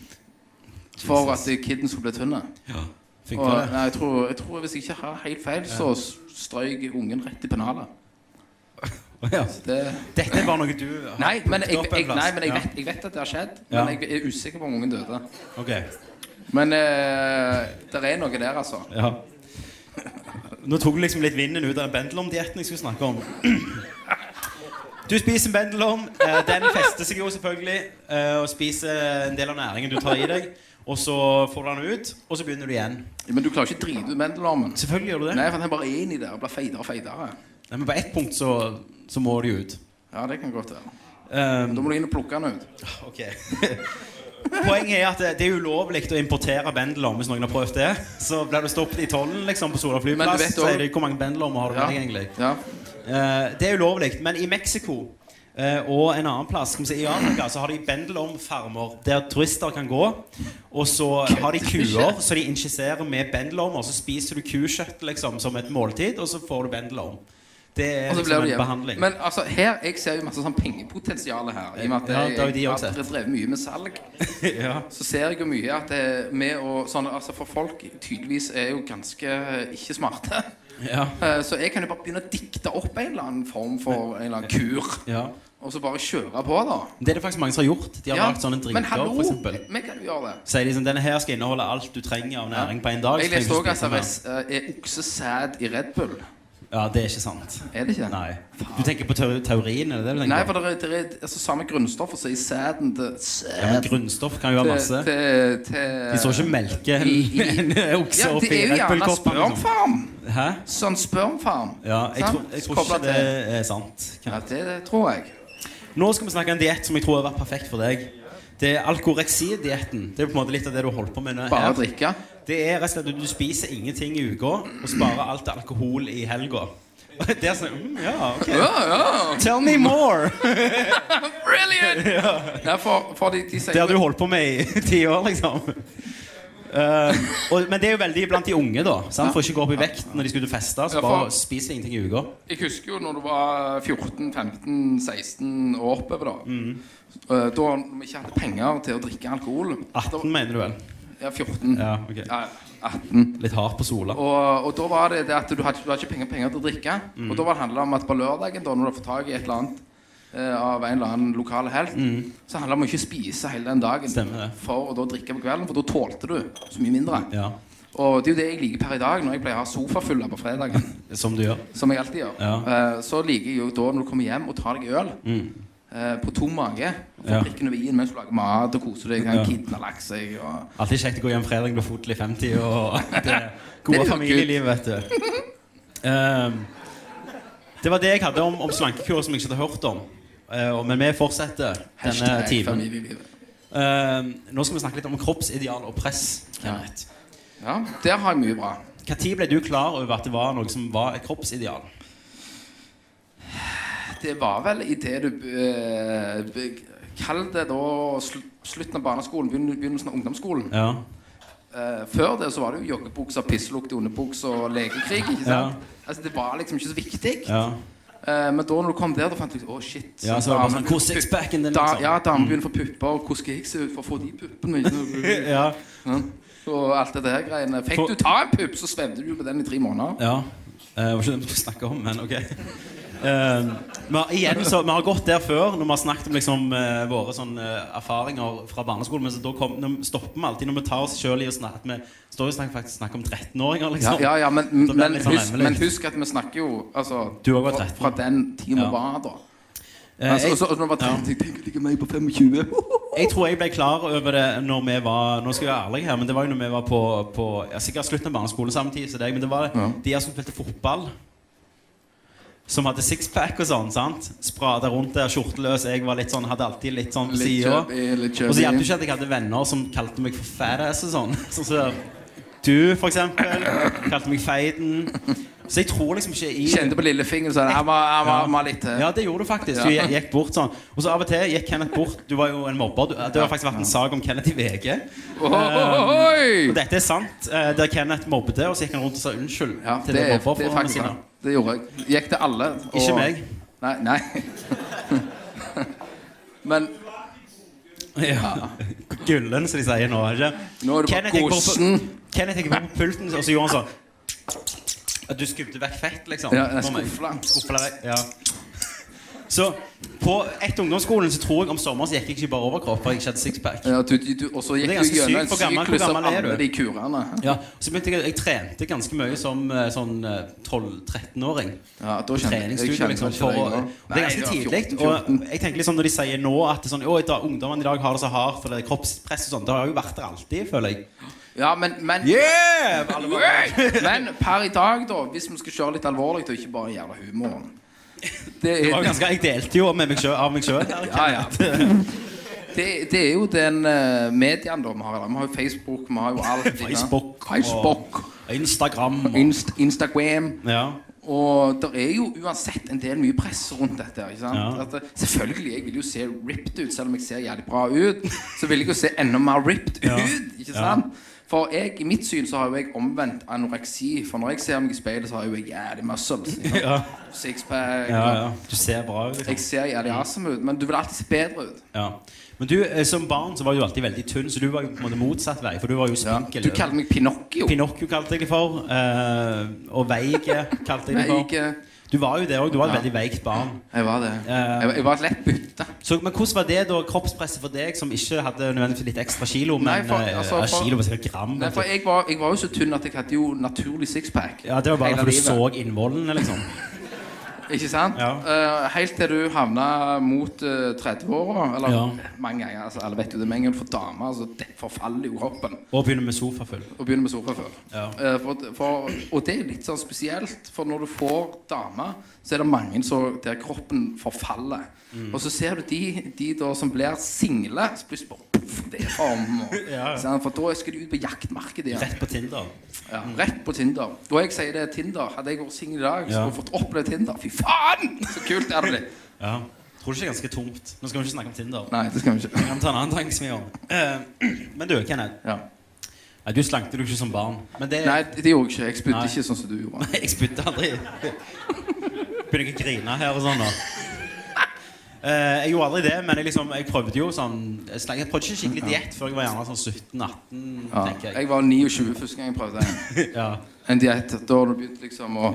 For at eh, kidden skulle bli tynn. ja, Og Funker det? nei, jeg, tror, jeg tror hvis jeg ikke har helt feil, så s- strøyk ungen rett i pennalet. Ja. Det... Dette er bare noe du har Nei, men, jeg, plukket opp en jeg, plass. nei, men jeg, Ja. vet, jeg vet at det har skjedd. Ja. Men jeg er usikker på om ungen døde. Ok. Men eh, det er noe der, altså. Ja. Nå tok du liksom litt vinden ut av den bendelorm-dietten jeg skulle snakke om. Du spiser en bendelorm. eh, Den fester seg jo selvfølgelig. eh, Og spiser en del av næringen du tar i deg. Og så får du den ut, og så begynner du igjen. Men du klarer ikke å drite ut mendelormen. Selvfølgelig gjør du det. Nei, for den bare er inni der og blir feitere og feitere. Nei, men på ett punkt så, så må du jo ut. Ja, det kan godt være. Um, Da må du inn og plukke den ut. ok. Poenget er at det- det er ulovlig å importere bendelorm hvis noen har prøvd det. Så blir du stoppet i tollen liksom, på Sola Men du flyplass. vet Sier også- de hvor mange bendelormer har du med Ja. deg egentlig? Ja. Eh, det er ulovlig, men i Mexico eh, og en annen plass skal vi si, i Afrika så har de bendelormfarmer der turister kan gå. Og så har de kuer så de injiserer med bendelormer. Så spiser du kukjøtt liksom, som et måltid, og så får du bendelorm. Det er Og så liksom blir du en hjemme. behandling. Men altså, her, jeg ser jo masse sånn pengepotensial her. I og med at Ja, jeg, det har jo de jeg også har sett. drevet mye med salg. ja. så ser jeg jo mye at det med å sånn, altså For folk tydeligvis er jo ganske eh, ikke smarte. Ja. Eh, Så jeg kan jo bare begynne å dikte opp en eller annen form for en eller annen kur. Ja. Og så bare kjøre på, da. Det er det faktisk mange som har gjort. De har lagd sånne men drinker, hallo, for eksempel vi kan jo gjøre det. Sier de sånn Denne her skal inneholde alt du trenger av næring på en dag. så Jeg trenger leste du òg ikke at spise det mer. er, eh, er oksesæd i Red Bull. Ja, det er ikke sant. Er det ikke? Nei. Du tenker på teo- teorien? Er det det du tenker? Nei, på? for det er, det er altså, samme grunnstoffer som i sæden til Ja, men sæd grunnstoff kan jo være masse. til, til, til De så ikke melke en, I- i- en okse Ja, opp det i er jo Red gjerne Bull-koppen. liksom. spermfarm. Hæ? Sånn spermfarm. Ja, jeg, sant? tror- jeg tror ikke Koblet det til- er sant. Ja, det, det tror jeg. Nå skal vi snakke om en diett som jeg tror har vært perfekt for deg. Det er alkoreksi-dietten. Det er på en måte litt av det du holder på med nå. Bare her. drikke. Det er rett og slett at du spiser ingenting i uka og sparer alt til alkohol i helga. Det er sånn mm, Ja, ok. Ja, ja. Tell me more! Brilliant! Ja, for, for de, de sier Det har du holdt på med i ti år, liksom. Eh, og, men det er jo veldig blant de unge, da. Sant? For ikke å gå opp i vekt når de skal ut og feste. Ja, Så for- bare spiser ingenting i uka. Jeg husker jo når du var 14, 15, 16 og oppover, da. Mhm. Eh, Da vi ikke hadde penger til å drikke alkohol. 18, mener du vel? Ja, 14. Ja, ok. Ja, 18. Litt hard på sola. Og, og da var det det at du hadde, du hadde ikke penger, penger til å drikke. Mhm. Og da var det handla om at på lørdagen, da, når du har fått tak i et eller annet eh, av en eller annen lokal helt, så handla det om å ikke spise hele den dagen Mhm. Stemmer det. for å da drikke på kvelden, for da tålte du så mye mindre. Ja, Og det er jo det jeg liker per i dag, når jeg pleier å ha sofafulle på fredagen. Som du gjør. Som jeg alltid gjør. Ja. Eh, så liker jeg jo da når du kommer hjem og tar deg øl eh, på tom mage. og Mm. Ja. Får prikken over i-en mens du lager mat og koser deg. Kan Ja. kidna laks seg og Alltid kjekt å gå hjem fredag når foten er 50 og det Det gode er familieliv, vet du. Ehm, det var det jeg hadde om, om slankekur som jeg ikke hadde hørt om. Eh, og- men vi fortsetter denne Hashtag timen. familielivet. Ehm, nå skal vi snakke litt om kroppsideal og press. Kenneth. Ja, der har jeg mye bra. Hva tid ble du klar over at det var noe som var et kroppsideal? Det var vel i det du eh, be- Kall det da sl slutten av barneskolen, begynn- begynnelsen av ungdomsskolen. Ja. Eh, før det så var det jo joggebukser, pisselukt, underbukser og lekekrig. ikke sant? Altså Det var liksom ikke så viktig. ja. Eh, men da når du kom der, da fant du ut Å, shit. Ja, så var det bare damen- sånn, hvor sixpacken din, da, liksom? Ja, damer begynner å få pupper. og Hvordan skal jeg se ut for å få de puppene? mine? ja. Ja. Og alt det der greiene. Fikk For- du ta en pupp, så svevde du jo på den i tre måneder. Ja. Eh, Det var ikke det vi skulle snakke om, men ok. Eh, men igjen, så, vi har gått der før når vi har snakket om liksom, eh, våre sånn, eh, erfaringer fra barneskolen. Men så da kom, når, stopper vi alltid når vi tar oss sjøl i å snakke Vi står jo og snakker, faktisk snakker om 13-åringer, Ja, liksom. ja, ja men, Da blir det men, litt sånn husk, hemmelig. men husk at vi snakker jo altså, Du har vært fra, 13. fra den tiden vi Ja. var da. Eh, Altså, jeg- og så- og så var det Ja. 30, tenk at jeg er meg på 25. Jeg tror jeg ble klar over det når vi var Nå skal jeg være ærlig her, men det var jo når vi var på, på ja, Sikkert slutten av barneskolen samtidig som deg, men det var Ja. de her som spilte fotball. Som hadde sixpack og sånn. sant? Sprada rundt der, skjorteløs. Jeg var litt sånn, hadde alltid litt sånn på Litt sida. chubby, litt Og så hjalp det chubby. ikke at jeg hadde venner som kalte meg for fatass og sånn. Sånn som du, for eksempel. Kalte meg feiten. Så jeg tror liksom ikke i Kjente på lillefingeren sånn Jeg må, jeg må, jeg må litt eh». til. ja, det gjorde du faktisk. Du Ja. gikk bort sånn. Og så av og til gikk Kenneth bort. Du var jo en mobber. Du, det har faktisk vært en sak om Kenneth i VG. Eh, Og Ohoi! dette er sant. eh, Der Kenneth mobbet, og så gikk han rundt og sa unnskyld. Ja, til det, det, er- det er mobbeofrene faktisk sine. sant. Det gjorde jeg. Gikk til alle. og- Ikke meg. Nei. nei. Men Ja. Gullen, som de sier nå. er det Ikke? Nå er det bare Kenneth gikk bort på- kosen. Kenneth gikk bort på pulten, og så gjorde han sånn At du skubte vekk fett, liksom. Ja, jeg for meg. skuffla. Skuffla vekk, ja. Så på ett ungdomsskolen så tror jeg om sommeren så gikk jeg ikke bare overkropp, for jeg ikke hadde sixpack. ja, du, du, og så Det er gikk ganske du gjennom en sykt. Hvor gammel- hvor syklus av gammel er alle du? de kurene. Ja, så begynte jeg, jeg trente ganske mye som eh, sånn eh, 12-13-åring. Ja, da kjente jeg- jeg Treningsstudio, kjente liksom. ikke For, det å- engang. og det er Nei, ganske jeg var tidlig. 14. Og jeg tenker liksom når de sier nå at det er sånn, «Å, da, ungdommen i dag har det så hardt, for det er kroppspress og sånn, det har jo vært der alltid, føler jeg. Ja, men, men Yeah! Men per i dag, da, hvis vi skal kjøre litt alvorlig og ikke bare gjøre humoren det Det var er, jo ganske, jeg delte jo med meg selv, av meg sjøl. ja, ja. Det, det er jo den eh, mediaen da vi har. Vi har jo Facebook, vi har jo alt. inne. Facebook og- Facebook Instagram og Inst Instagram. ja. Og det er jo uansett en del mye press rundt dette. ikke sant? Ja. At, eh, selvfølgelig, jeg vil jo se ripped ut, selv om jeg ser jævlig bra ut. Så vil jeg jo se enda mer ripped ut. Ja. ikke sant? For jeg, i mitt syn så har jo jeg omvendt anoreksi. For når jeg ser meg i speilet, så har jo jeg jævlig muscles. ikke sant? Ja. Sixpack. ja, ja. Du ser bra ut. Jeg Liksom. ser jævlig awesome ut, men du vil alltid se bedre ut. Ja. Men du, eh, som barn så var du alltid veldig tynn, så du var jo på en måte motsatt vei. For du var jo spinkel. Du kaller meg Pinocchio. Pinocchio kalte jeg det for. eh, og Veige kalte jeg det Nei, for. ikke Du var jo det òg. Du var et Ja. veldig veikt barn. Jeg var det. Ja. Jeg, var- jeg var et lett bytte. Så, men hvordan var det da kroppspresset for deg, som ikke hadde nødvendigvis litt ekstra kilo, men Nei, for- eh, altså, ja, for- kilo var sikkert gram? Nei, for jeg var, jeg var jo så tynn at jeg hadde jo naturlig sixpack. ja, det var bare hele for du livet. så innvollene, liksom. Ikke sant? Ja. Eh, helt til du havna mot eh, 30-åra. Eller Ja. mange ganger. Altså, alle vet jo det med en gang for damer. Altså, det forfaller jo kroppen. Og begynner med sofafull. Og begynner med sofa før. Ja. Eh, for, for, og det er litt sånn spesielt, for når du får dame, så er det mange så, der kroppen forfaller. Mm. Og så ser du de, de da som blir single, så plutselig bare puff, det er form. Og, Ja, ja. sant? For da skal de ut på jaktmarkedet igjen. Rett på Tinder. Ja, rett på Tinder. Da jeg sier det er Tinder, hadde jeg vært singel i dag, så Ja. skulle jeg fått oppleve Tinder. Fy faen! Så kult er det blitt. Ja. Tror du ikke det er ganske tomt? Nå skal vi ikke snakke om Tinder. Nei, det skal vi Vi ikke. kan ta en annen tanke som vi gjør. Eh, men du, Kenneth. Ja. Nei, du slankte du ikke som barn. Men det Nei, det gjorde jeg ikke. Jeg spydde Nei. ikke sånn som du gjorde. Jeg spytter aldri. Begynner ikke å grine her og sånn. da. Eh, jeg gjorde aldri det, men jeg, liksom, jeg prøvde jo sånn Jeg slang- jeg prøvde ikke skikkelig diett før jeg var gjerne sånn 17-18, Ja. tenker jeg. Jeg var 29 første gang jeg prøvde en, Ja. en diett. Da har du begynt liksom å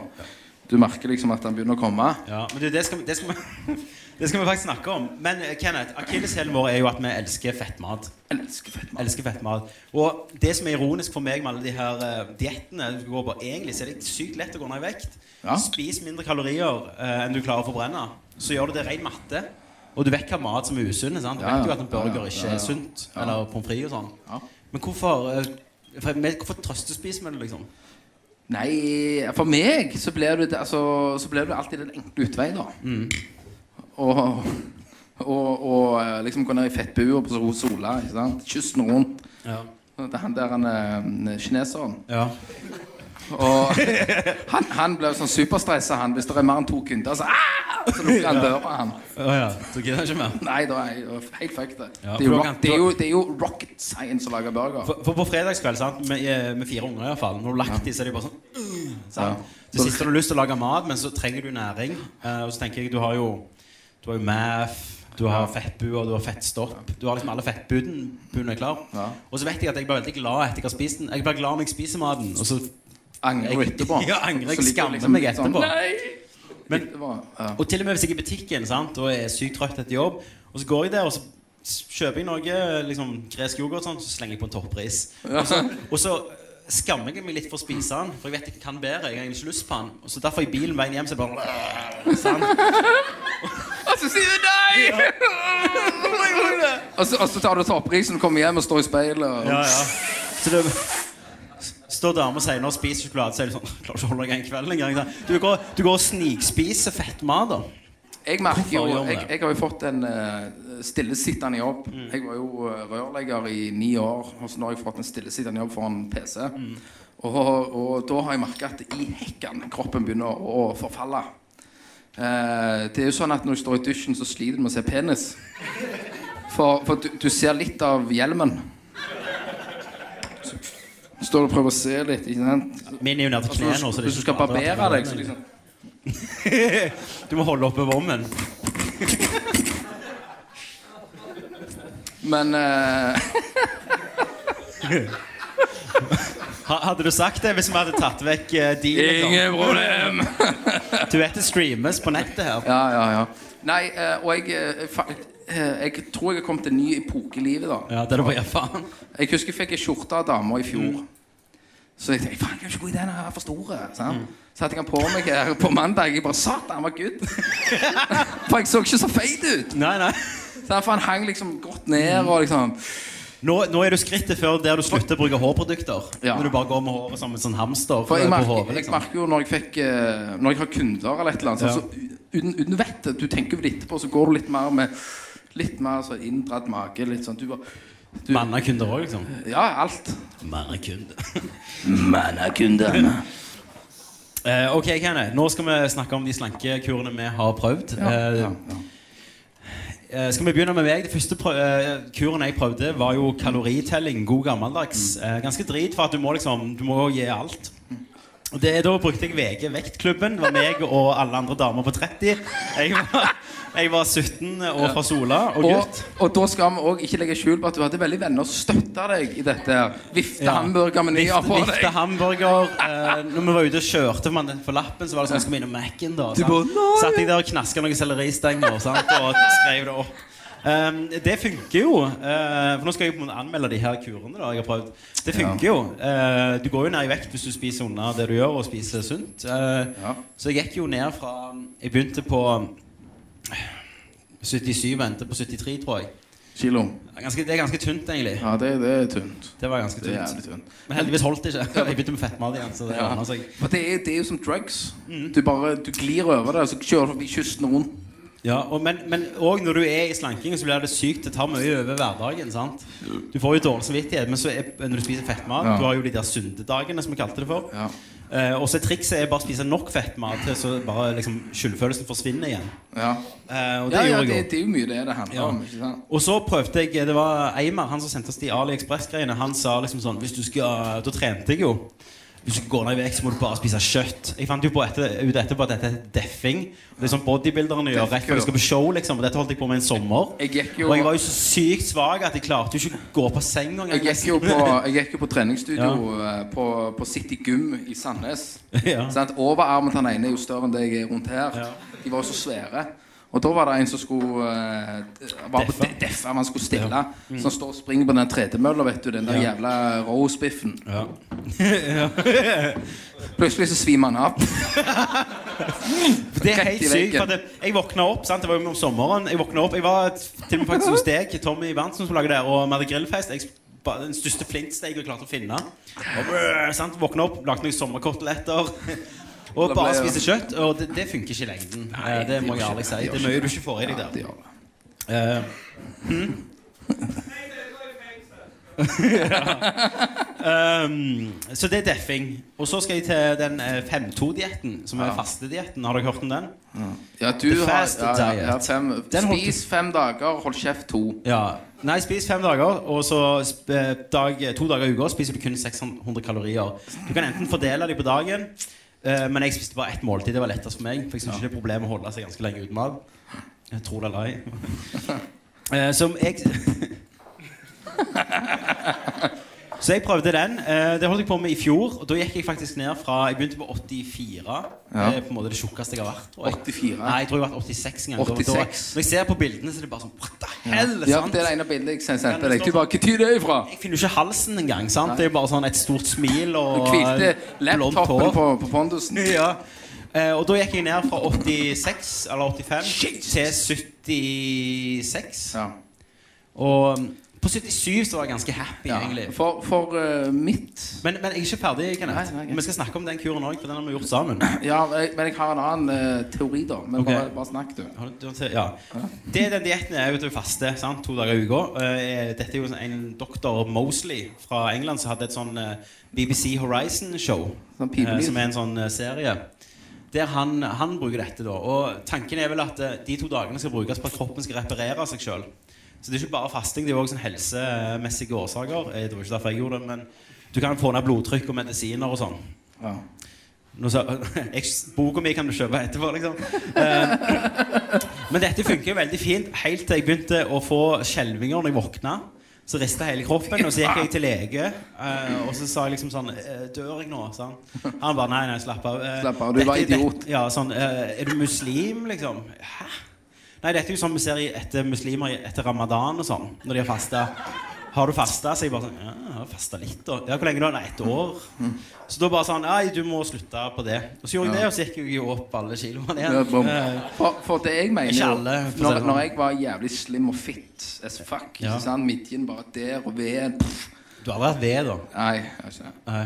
Du merker liksom at den begynner å komme. Ja, men du, det skal, vi, det, skal vi, det skal vi faktisk snakke om. Men eh, Kenneth, akilleshælen vår er jo at vi elsker fettmat. Jeg elsker fettmat. elsker fettmat. Og det som er ironisk for meg med alle de her eh, diettene du går på, egentlig så er det sykt lett å gå ned i vekt. Ja. Spis mindre kalorier eh, enn du klarer å forbrenne. Så gjør du det ren matte. Og du vet hva mat som er usunn. sant? Du Ja, ja. vet jo at en burger Ja, ja. ikke Ja, ja. er sunt. Eller pommes frites og sånn. Ja. Men hvorfor, eh, for, men hvorfor trøstespiser vi det, liksom? Nei, for meg så blir det, altså, så blir det alltid den enkle utvei, da. Mm. Og, og, og eh, liksom gå ned i fettbua på Sola. ikke sant? Kysten rundt. Ja. Det er han der han eh, kineseren. ja. Og han, han ble sånn superstressa, han. Hvis det er mer enn to kunder, så, ah! så lukker han døra, han. Å ja. Så gidder jeg ikke mer. Nei, da er jeg jo helt fucked. det. Ja, Det er jo for dere- rock- det er jo- det er jo rocket science å lage burger. For, for på fredagskveld, sant, med, eh, med fire unger i hvert fall, når du har lagt dem, så er de bare sånn øh, sant? Ja. Det siste du har lyst til å lage mat, men så trenger du næring. Eh, og så tenker jeg, du har jo Du har jo MAF, du har fettbuer, du har fettstopp. Du har liksom alle fettbudene er klar. Ja. Og så vet jeg at jeg blir veldig glad etter jeg har spist den. Jeg blir glad når jeg spiser maten. Og så Angrer du etterpå? Ja, angrer, jeg Så ligger du skammer meg litt etterpå. Sånn, Nei! Men- det var, ja. Og til og med hvis jeg er i butikken sant, og er sykt trøtt etter jobb, og så går jeg der og så s- kjøper jeg noe liksom, gresk yoghurt, sånn, så slenger jeg på en toppris. Og så, og så skammer jeg meg litt for å spise den, for jeg vet jeg kan bedre. Jeg har egentlig ikke lyst på den. Og så derfor i bilen veien hjem så er jeg bare sant? Og så sier du nei! og, så, og så tar du topprisen, kommer hjem og står i speilet og Ja, ja. Så det Står dame og sier 'nå spiser sjokolade', så er det sånn 'Klarer ikke å holde deg en kveld engang'. Du går, du går og snikspiser fettmat, da. Jeg merker jo, Hvorfor gjør vi jeg, det? Mm. jeg har jo fått en eh, stillesittende jobb. Jeg var jo eh, rørlegger i ni år, og så nå har jeg fått en stillesittende jobb foran PC. Mm. Og, og da har jeg merka at i hekken kroppen begynner å, å forfalle. Eh, det er jo sånn at når du står i dusjen, så sliter du med å se penis. For, for du, du ser litt av hjelmen. Så står du og prøver å se litt, ikke sant? Min er jo ned til Altså, knærne. så det er hvis du ikke skal sjokolade. barbere deg, så liksom Du må holde oppe vommen. Men eh, Ha- Hadde du sagt det hvis vi hadde tatt vekk uh, Ingen problem! Du vet det streames på nettet her. Ja, ja, ja. Nei, eh, og jeg, eh, fa eh, jeg tror jeg har kommet til en ny epoke i livet, da. Ja, det er det bare faen. Jeg husker jeg fikk ei skjorte av dama i fjor. Mm. Så jeg tenkte faen, jeg har ikke god idé, den er for stor. eh, sant? Mm. Så hadde jeg den på meg her på mandag. Jeg bare Satan, han var good! for jeg så ikke så feit ut. Nei, nei. Så derfor han hang liksom godt ned og Mm. liksom Nå, nå er du skrittet før der du slutter å bruke hårprodukter. Ja. Når du bare går med håret som en sånn hamster. For jeg på merker, hodet, jeg liksom. merker jo når jeg fikk eh, Når jeg har kunder eller et eller annet sånn, Ja. så uten, uten vettet, du tenker jo litt på Så går du litt mer med Litt mer sånn inndratt mage Litt sånn, du bare du, Mannakunder òg, liksom. Ja, alt Mannakunder. Mannakunden Eh, ok, Kenneth. Nå skal vi snakke om de slankekurene vi har prøvd. ja, Eh, ja, ja. Eh, skal vi begynne med meg? Det første prø eh, kuren jeg prøvde, var jo kaloritelling. God gammeldags. Eh, ganske drit, for at du må liksom Du må gi alt. Og det, da brukte jeg VG Vektklubben. Det var meg og alle andre damer på 30. Jeg var, jeg var 17 og fra Sola og Og, gutt. og da skal vi også ikke legge skjul på at du hadde veldig venner og støttet deg i dette her. Vifte Ja. hamburgermenyer Vifte- på Vifte deg hamburger. Eh, når vi var ute og kjørte man, for lappen, så var det sånn skal vi innom Mac-en. da sant? bare, «Nei!» Satt jeg der og knaska noen selleristenger sant? og skrev det opp. Ehm, det funker jo. eh, for Nå skal jeg på en måte anmelde de her kurene. da jeg har prøvd Det funker jo. Eh, du går jo ned i vekt hvis du spiser unna det du gjør, og spiser sunt. Eh, Ja. Så jeg gikk jo ned fra Jeg begynte på 77, endte på 73, tror jeg. Kilo Ganske, det er ganske tynt, egentlig. Ja, det, det er tynt Det var ganske Det er tynt. jævlig tynt Men heldigvis holdt det ikke. Jeg begynte med fettmat igjen. så det Ja. ordnet seg. For det er, det er jo som drugs Mm. Du bare, du glir over det Så kjører du forbi kysten rundt Ja, og, Men men òg når du er i slanking, så blir det sykt. Det tar mye over hverdagen. sant? Du får jo dårlig samvittighet, men så er, når du spiser fettmat Ja. Du har jo de der syndedagene, som vi kalte det for. Ja. Eh, og så trikset er bare å spise nok fettmat til så bare liksom skyldfølelsen forsvinner igjen. Ja Eh, og det Ja, ja, gjorde jeg det, jo. det er jo mye det det handler Ja. om. ikke sant? Og så prøvde jeg Det var Eimar, han som sendte oss de AliExpress-greiene. Han sa liksom sånn Hvis du skal Da trente jeg jo. Hvis du skal gå ned i vekt, så må du bare spise kjøtt. Jeg fant jo på etter, ut etterpå at dette heter deffing. Det er sånn bodybuilderne gjør rett før de skal på show, liksom. Og dette holdt jeg på med en sommer. Jeg gikk jo- Og jeg var jo så sykt svak at jeg klarte jo ikke å gå på seng engang. Jeg gikk jo på, jeg gikk jo på treningsstudio eh, på, på City Gym i Sandnes. Ja. Sånn at Overarmen til den ene er jo større enn det jeg er rundt her. Ja. De var jo så svære. Og da var det en som skulle eh, var på Deffe. de- deffe, han skulle stille. Så han står og springer på den tredemølla, vet du. Den der Ja. jævla roastbiffen. Ja. Plutselig så svimer han av. Det er Rett helt i sykt. veggen. For at jeg- jeg våkna opp, sant? det var jo om sommeren. Jeg våkna opp, jeg var til og med faktisk hos deg, Tommy Berntsen, som lager det, og vi hadde grillfest. Jeg ba- den største flintsteik jeg klarte å finne. Og, brr, sant? Våkna opp, lagde noen sommerkoteletter. Og Da ble bare jeg- spise kjøtt. Og det, det funker ikke i lengden. Eh, det må jeg ærlig si. Det er mye du ikke får i deg Ja, der. det gjør det. Eh, ja. um, så det er deffing. Og så skal jeg til den 5-2-dietten, som er fastedietten. Har dere hørt om den? Ja, du The har, fast ja, ja, diet. ja, fem, Den holdt- spis fem dager, hold kjeft to. Ja. Nei, spis fem dager, og så sp- eh, dag, to dager i uka spiser du kun 600 kalorier. Du kan enten fordele dem på dagen, eh, men jeg spiste bare ett måltid. Det var lettest for meg. For jeg synes ikke det er et problem å holde seg ganske lenge uten mat. Jeg tror det eller ei. Eh, Som jeg Så jeg prøvde den. Eh, Det holdt jeg på med i fjor. Og da gikk jeg faktisk ned fra Jeg begynte på 84. Ja. Det er på en måte det tjukkeste jeg har vært. tror jeg. 84? Nei, jeg tror jeg har vært 86 en gang. Da- 86? Da, når jeg ser på bildene, så er det bare sånn What the hell? Ja, sant? det er det ene bildet jeg sendte deg. Du bare Hvor tid er det ifra? Jeg finner jo ikke halsen engang. sant? Det er jo bare sånn et stort smil Du og eh, hvilte blondt laptopen hår. på, på Pondusen. Ja. Eh, og da gikk jeg ned fra 86 eller 85 til 76. Ja. Og um, på 77 så var jeg ganske happy, Ja. egentlig. For, for eh, mitt Men, men jeg er ikke ferdig, Kenneth. Nei, nei, greit. Vi skal snakke om den kuren òg, for den har vi gjort sammen. Ja, jeg, men jeg har en annen eh, teori, da. Men Ok. bare, bare snakk, du. Har du- du har se- Ja. Det den dietten er jo til å faste sant? to dager i uka. Eh, Dette er jo en doktor Mosley fra England som hadde et sånn eh, BBC Horizon-show. Sånn pipelyd. eh, Som er en sånn eh, serie. Der han, han bruker dette, da. Og tanken er vel at eh, de to dagene skal brukes på at kroppen skal reparere seg sjøl. Så det er ikke bare fasting, det er jo òg sånn helsemessige årsaker. Eh, Det var ikke derfor jeg gjorde det, men du kan få ned blodtrykk og medisiner og sånn. Ja. Nå sa, jeg, boka mi kan du kjøpe etterpå, liksom. Eh, men dette funker jo veldig fint helt til jeg begynte å få skjelvinger når jeg våkna. Så rista hele kroppen, og så gikk jeg til lege. eh, og så sa jeg liksom sånn eh, Dør jeg nå? Sa han. Han bare nei, nei, slapp av. Eh, Slapp av, du var dette- idiot. dette- ja, sånn eh, Er du muslim, liksom? Hæ? Nei, dette er jo sånn vi ser i- etter muslimer etter ramadan og sånn, når de har fasta. Har du fasta? Så jeg bare sånn Ja, jeg har fasta litt, da. Ja, hvor lenge da? Nei, et år. Så da bare sånn Nei, du må slutte på det. Og så gjorde jeg det, og så gikk jeg jo opp alle kiloene Ja, bom. igjen. Eh, For, for det jeg mener Ikke jo, alle, for å si når, det sånn. når jeg var jævlig slim og fit as fuck ikke Ja. sant? Midjen bare der og ved pff. Du har aldri vært ved, da. Nei, jeg har ikke det. Nei.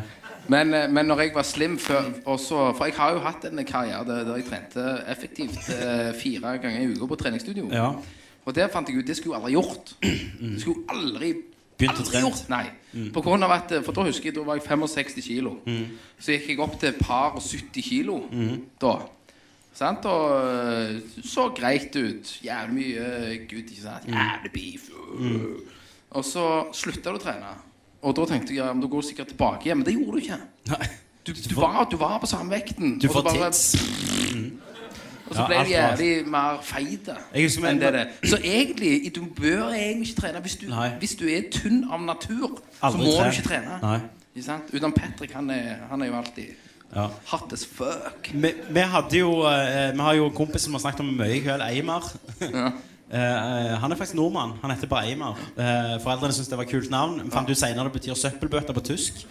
Men, eh, men når jeg var slim før også, For jeg har jo hatt en karriere der, der jeg trente effektivt eh, fire ganger i uka på treningsstudio. Ja. Og der fant jeg ut det skulle jeg aldri gjort. Det skulle jeg aldri Begynt å aldri trene. Mm. gjort. Nei. På grunn av at, eh, for da husker jeg, da var jeg 65 kilo. Så gikk jeg opp til et par og 70 kilo Mm. da. Sant? Og eh, så greit ut. Jævlig mye eh, gud, ikke sant? Mm. Jævlig beef. øh. Og så slutta du å trene. Og da tenkte jeg ja, men da går du sikkert tilbake igjen. Men det gjorde du ikke. Nei. Du, du, var, du var på samme vekten. Du og så får bare- tids. og så Ja, ble alt det var- jævlig mer feite Jeg husker enn meg- det det. Så egentlig, du bør egentlig ikke trene. Hvis du, Nei. hvis du er tynn av natur, så Aldri må tren. du ikke trene. Nei. Ikke sant? Utenom Patrick, han er, han er jo alltid Ja. hot as fuck. Vi, vi hadde jo eh, Vi har jo en kompis som har snakket om mye i kveld, Eimar. Ja. Eh, eh, han er faktisk nordmann. Han heter bare Eimar. Eh, foreldrene syntes det var et kult navn. Vi fant ut senere det betyr søppelbøtter på tysk.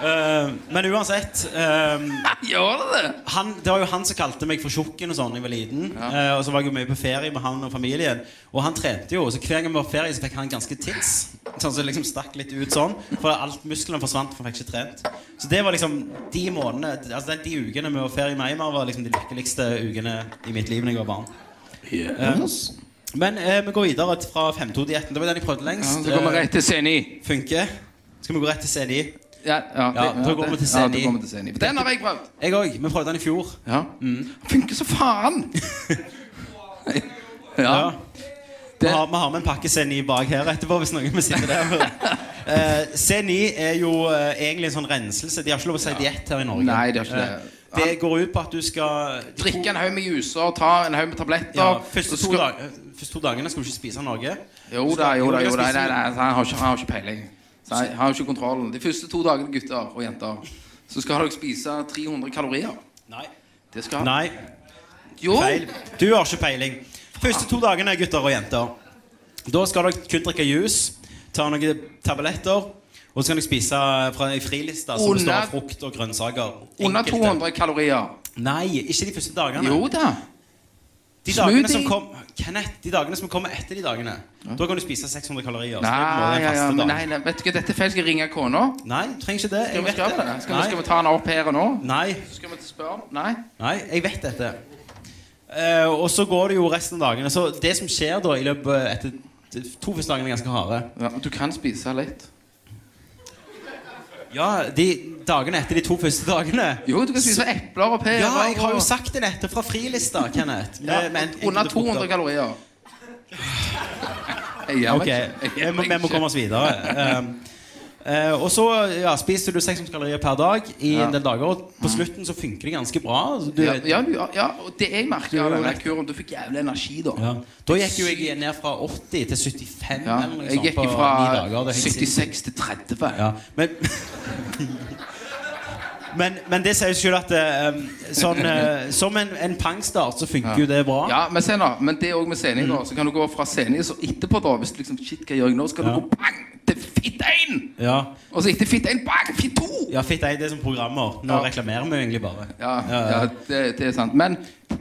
Eh, eh, men uansett eh, Gjør det det? han, Det var jo han som kalte meg for tjukken og sånn da jeg var liten. Eh, og så var jeg jo mye på ferie med han og familien. Og han trente jo, så hver gang vi var på ferie, så fikk han ganske tits. Sånn som liksom stakk litt ut sånn. For alt musklene forsvant, for han fikk ikke trent. Så det var liksom de månedene Altså de ukene vi var på ferie med Eimar, var liksom de lykkeligste ukene i mitt liv da jeg var barn. Men eh, vi går videre fra 5-2-dietten. Det var den jeg prøvde Ja, lengst. så kommer Eh, vi rett til scenen i. funker. Skal vi gå rett til CDI? Ja, ja, Ja, det- da går vi til ja, scenen i. da går vi til scenen i. Den har jeg prøvd. Jeg òg. Vi prøvde den i fjor. Ja. Mm. Funker så faen! ja. Ja. Vi Det- har, vi har med en pakke C9 bak her etterpå, hvis noen vil sitte der. Eh, C9 er jo eh, egentlig en sånn renselse. De har ikke lov å si diett her i Norge. Nei, de har ikke det. Eh, det går ut på at du skal de to- Drikke en haug med juicer, ta en haug med tabletter. ja, så første, to skal- dag, eh, første to dagene skal du ikke spise noe. Jo da, jo da, jo da. Nei, nei, nei, han har ikke, han har ikke peiling. Så jeg har ikke kontrollen. De første to dagene, gutter og jenter, så skal dere spise 300 kalorier. Nei. Det skal nei. Jo! Feil. Du har ikke peiling. Første to dagene, gutter og jenter, da skal dere kun drikke juice, ta noen tabletter, og så kan dere spise fra ei friliste som består av Under- frukt og grønnsaker. Under Enkelte. 200 kalorier. Nei, ikke de første dagene. Jo da. De dagene som Smoothie. kom, Kenneth, de dagene som kommer etter de dagene. Da kan du spise 600 kalorier. så det er på en måte Nei, en ja, ja, faste men dag. nei, nei, vet du hva, dette er feil. Skal jeg ringe kona? Nei, du trenger ikke det. Skal Jeg vi, vet skal, vi, det. skal, vi, skal vi ta henne opp her og nå? Nei, Skal vi spørre? Nei? nei, jeg vet dette. Eh, og så går det jo resten av dagene. Så det som skjer da i løpet etter de to første dagene er ganske harde. Ja, du kan spise litt. Ja, de dagene etter de to første dagene Jo, du kan spise epler og pærer. Ja, jeg har jo og- sagt det nettopp fra frilista, Kenneth. Eh, Ja, Med- med en- Under enkelte frukter. 200 kalorier. Jeg gjør meg Ok, ikke. Jeg gjør vi må, meg vi må ikke. komme oss videre. Um, Eh, og så ja, spiser du 600 kalorier per dag i Ja. Mm. en del dager. Og på slutten så funker det ganske bra. så Du, Ja, ja, du- ja, og det jeg merka av Du- denne kuren, du fikk jævlig energi da. Ja. Da gikk jo jeg ned fra 80 til 75 Ja, eller noe jeg sånt sånn gikk på ni fra dager. Det er helt sinnssykt. 76 til 30. Ja, men Men, men det sier jo selv at eh, sånn, eh, som en, en pangstart så funker jo det bra. Mm. Ja, men se nå, men det er òg med scening, da. Så kan du gå fra scening og etterpå, da. Hvis du liksom Shit, hva gjør jeg nå? Så kan Ja. du gå bang til fitt 1! Ja, Og så etter fitt 1, bang, fitt 2! ja fitt, jeg, det er som programmer. Nå Ja. reklamerer vi jo egentlig bare. Ja, ja, ja. det, det er sant. Men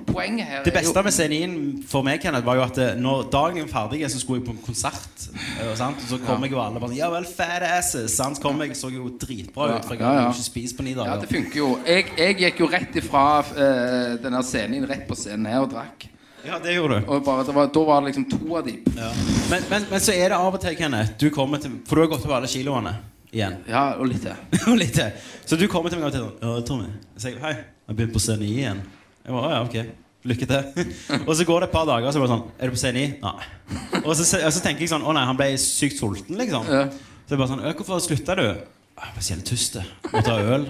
poenget her Det beste med scenien for meg Kenneth, var jo at eh, når dagen var ferdig, så skulle jeg på en konsert. eh, sant? Og så kom jeg jo alle bare sånn, Ja vel, fat asses. Sant? Kom jeg, så jo dritbra ut. For jeg Ja, ja. hadde jo ikke spist på ni Ja, det dager. funker jo. Jeg, jeg gikk jo rett ifra eh, denne scenen rett på scenen her og drakk. Ja, det gjorde du. Og bare, det var, da var det liksom to av de Ja. Men, men, men så er det av og til, Kenneth du kommer til, For du har gått over alle kiloene igjen. Ja, og litt til. Og litt til. Så du kommer til meg og til sånn «Ja, Tommy, jeg sier, hei, jeg begynte på CNI igjen. Jeg bare, «Å ja, ok, lykke til. og så går det et par dager, og så er det sånn Er du på CNI? Nei. Og så, og så tenker jeg sånn Å nei, han ble sykt sulten, liksom. Ja. Så jeg bare sånn «Ja, Hvorfor slutta du? «Ah, Jeg var så jævlig tyst. jeg. Må ta øl.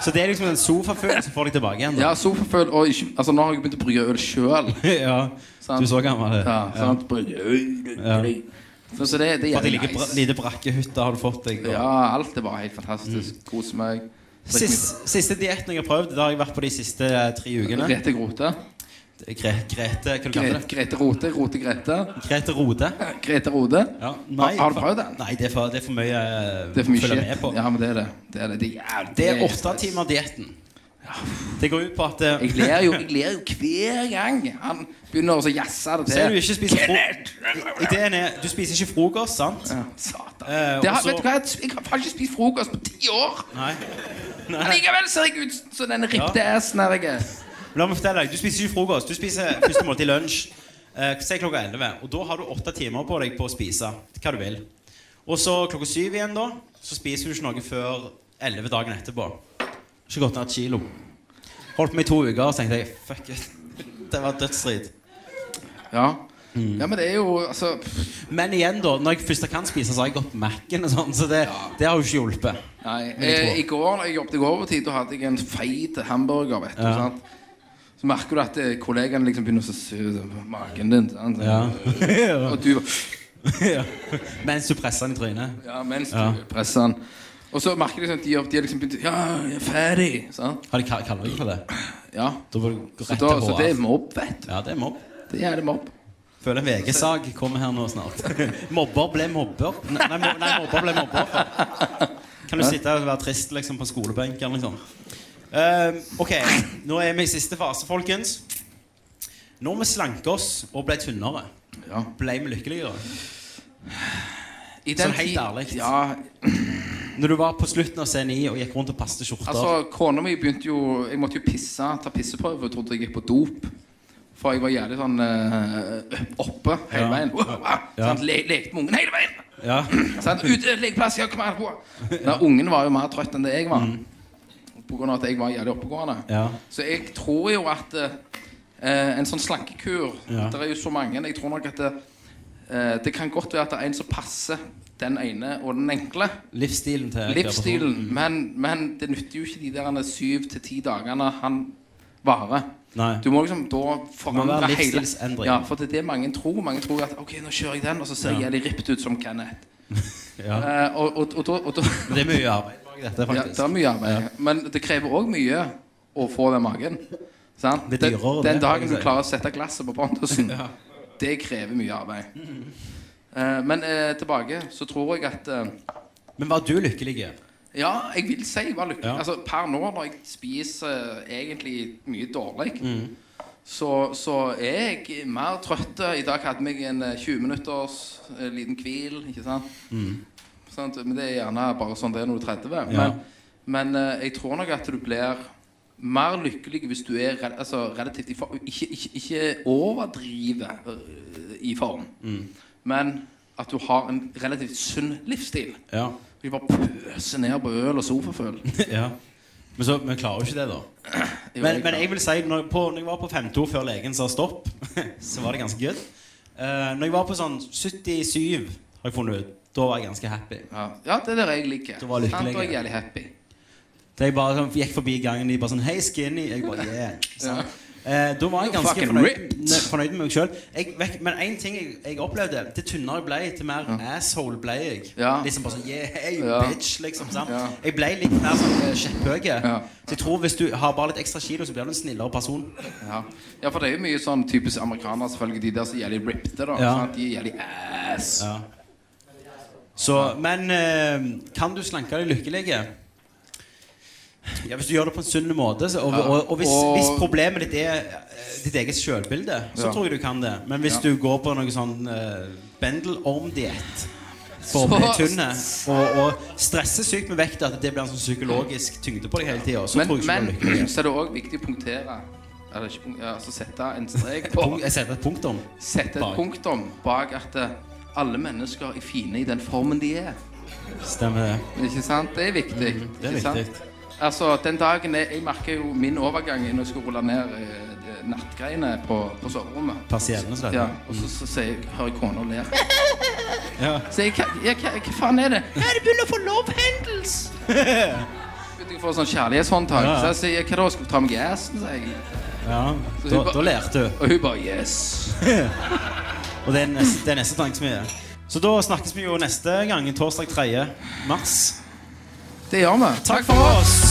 Så det er liksom en sofafølelse som får deg tilbake igjen. Da. Ja, sofaføl og ikke, Altså, nå har jeg begynt å brygge øl sjøl. ja. Sant. Du så gammel ut. Ja, sant? Brygge øl. Så, så det, det For at er det ligger jævlig bra, nice. lite brakkehytte har du fått deg. da. Ja, alt er bare helt Mm. fantastisk. Kos meg. Sist, siste dietten jeg har prøvd, det har jeg vært på de siste eh, tre ukene. Grete Grote. Gre Grete Hva du kaller Grete, du det? Grete Rote. Rote Grete. Grete Rode. Grete Rode. Ja, Har- har du prøvd den? Nei, det er for, det er for mye eh, Det er for mye å følge med shit. på. Ja, men det er det. Det er, det. Det er, jævlig- Det er det er åtte stress. timer dietten. Det går ut på at eh, Jeg ler jo, jeg ler jo hver gang han begynner å så jazze det til. Så er du ikke spiser Kenneth! fro- Ideen er Du spiser ikke frokost, sant? Ja, Satan. Eh, Det har, og så- vet du hva, jeg har faen ikke spist frokost på ti år! Nei. Men Likevel ser jeg ut som den ripte assen her jeg er. Men La meg fortelle deg, Du spiser ikke frokost. Du spiser første måltid lunsj. Eh, Si klokka 11. Og da har du åtte timer på deg på å spise hva du vil. Og så klokka syv igjen, da, så spiser du ikke noe før 11 dagen etterpå. Ikke gått ned et kilo. Holdt på med i to uker, så tenkte jeg fuck it. Det var dødsstrid. Ja. Hmm. ja, men det er jo altså pff, Men igjen, da, når jeg først kan spise, så har jeg gått på Mac-en og sånn, så det, det har jo ikke hjulpet. Nei. jeg eh, tror- I går når jeg jobbet i går overtid, da hadde jeg en feit hamburger. vet du, Ja. sant? Så merker du at eh, kollegaene liksom begynner å så suse på magen din. Sant? ja. Og du bare Mens du presser den i trynet. Ja, mens Ja. du presser den. Og så merker du liksom at de, de har liksom begynt Ja, jeg er ferdig. Sant? Har de ka- kalorier på det? Ja. Da må du gå Så, rett da, til så HR. det er mobb, vet du. Ja, det er mobb. Det er det mobb. Føler VG-sag kommer her nå snart. Mobber ble mobber. Nei, nei, mo- nei mobber ble mobber. Kan du sitte her og være trist liksom, på skolebenken? Liksom? Eh, ok, nå er vi i siste fase, folkens. Når vi slanker oss og ble tynnere, Ja. ble vi lykkeligere? I Sånn helt tid- ærlig. Ja, Når du var på slutten av CNI og gikk rundt og passet skjorter Altså, kona mi begynte jo Jeg måtte jo pisse, ta pisseprøve, for jeg trodde jeg gikk på dop. For jeg var jævlig sånn eh, oppe hele Ja. veien. Wow, wow, Ja. sant? Le lekte med ungen hele veien! ja. Sant? Ute, lekeplass, ja, kom her! wow. Men ungen var jo mer trøtt enn det jeg var. Mm. På grunn av at jeg var jævlig oppegående. Ja. Så jeg tror jo at eh, en sånn slankekur Ja. Det er jo så mange. Jeg tror nok at det, eh, det kan godt være at det er en som passer den ene og den enkle. Livsstilen til Livsstilen. Men, men det nytter jo ikke de der syv til ti dagene han varer. Nei. Du må liksom da Det må forandre være hele livsstilsendring. Ja, for det er det mange tror. Mange tror at OK, nå kjører jeg den, og så ser jeg jævlig ripped ut som Kenneth. Ja. Eh, og, og, og, da- og, da- Men Det er mye arbeid bak dette, ja, faktisk. det er mye arbeid. Men det krever òg mye å få den magen. Sant? Det er dyrere, den, det, den kan dagen jeg du si. klarer å sette glasset på Pontusen, det krever mye arbeid. Eh, men eh, tilbake så tror jeg at eh, Men var du lykkelig? Ja, jeg vil si jeg var lykkelig. Ja. Altså, per nå, når jeg spiser eh, egentlig mye dårlig, Mm. så, så er jeg mer trøtt. I dag hadde jeg en eh, 20 minutters eh, liten hvil, ikke sant? Sant? Men det er gjerne bare sånn det er når du er 30. Mm. Ja. Men, men eh, jeg tror nok at du blir mer lykkelig hvis du er rel altså, relativt i form. Ikke, ikke, ikke overdrive eh, i form, Mm. men at du har en relativt sunn livsstil. Ja. Vi bare pøser ned på øl og sofaføl. ja. Men så, vi klarer jo ikke det, da. Men, men jeg vil si, når, på, når jeg var på 5-2 før legen sa stopp, så var det ganske good. Eh, når jeg var på sånn 77, har jeg funnet ut, Da var jeg ganske happy. Ja, ja det er det jeg liker. Da var du Sant? Da er jeg lykkelig. jævlig happy. Da jeg bare sånn, gikk forbi gangen, de bare sånn Hei, skinny. Jeg bare, yeah. Sånn. Eh, da var jeg ganske Fucking fornøyd, ripped. ne, fornøyd med meg sjøl. Men én ting jeg, jeg opplevde Til tynnere jeg ble, til mer asshole ble jeg. Ja. Liksom bare sånn Yeah, hey, Ja. bitch, liksom. Sant? Ja. Jeg ble litt mer sånn eh, kjepphøy. Ja. Så jeg tror hvis du har bare litt ekstra kilo, så blir du en snillere person. Ja. ja, for det er jo mye sånn typisk amerikanere, selvfølgelig. De der som er jævlig ripped, da. Ja. Sant? De er jævlig ass. Ja. Så, men eh, kan du slanke deg lykkelig? Ja, Hvis du gjør det på en sunn måte, så, og, Ja. og, og hvis, Og- hvis problemet ditt er eh, ditt eget sjølbilde, så Ja. tror jeg du kan det. Men hvis Ja. du går på noe sånn uh, bendelormdiett for Så- å bli tynn og, og stresser sykt med vekta, at det blir en sånn psykologisk tyngde på deg hele tida, så Men, tror jeg ikke du men blir lykkelig. så er det òg viktig å punktere. Eller ikke punktere, altså sette en strek på Punkt- Jeg setter et punktum. Sette et Bak. punktum bak at eh, alle mennesker er fine i den formen de er. Stemmer det. Ikke sant? Det er viktig. Mm, det er ikke sant? viktig. Altså, den dagen jeg, jeg merker jo min overgang når jeg skal rulle ned eh, det- nattgreiene på, på soverommet. Persiennen Ja, sletter. og så, så, sier jeg, hører jeg kona ler. Ja. Så jeg, hva, jeg, hva, hva faen er det? Ja, det begynner å få love handles! Begynte jeg å få sånn kjærlighetshåndtak. Ja, ja. Så jeg sier jeg, hva da, skal du ta meg i assen? sier jeg. Ja. Så Da, hun ba- da lærte du. Og hun bare yes. Og det er neste, det er neste tanke som er. Så da snakkes vi jo neste gang, torsdag 3. mars. Det gjør vi. Takk for oss!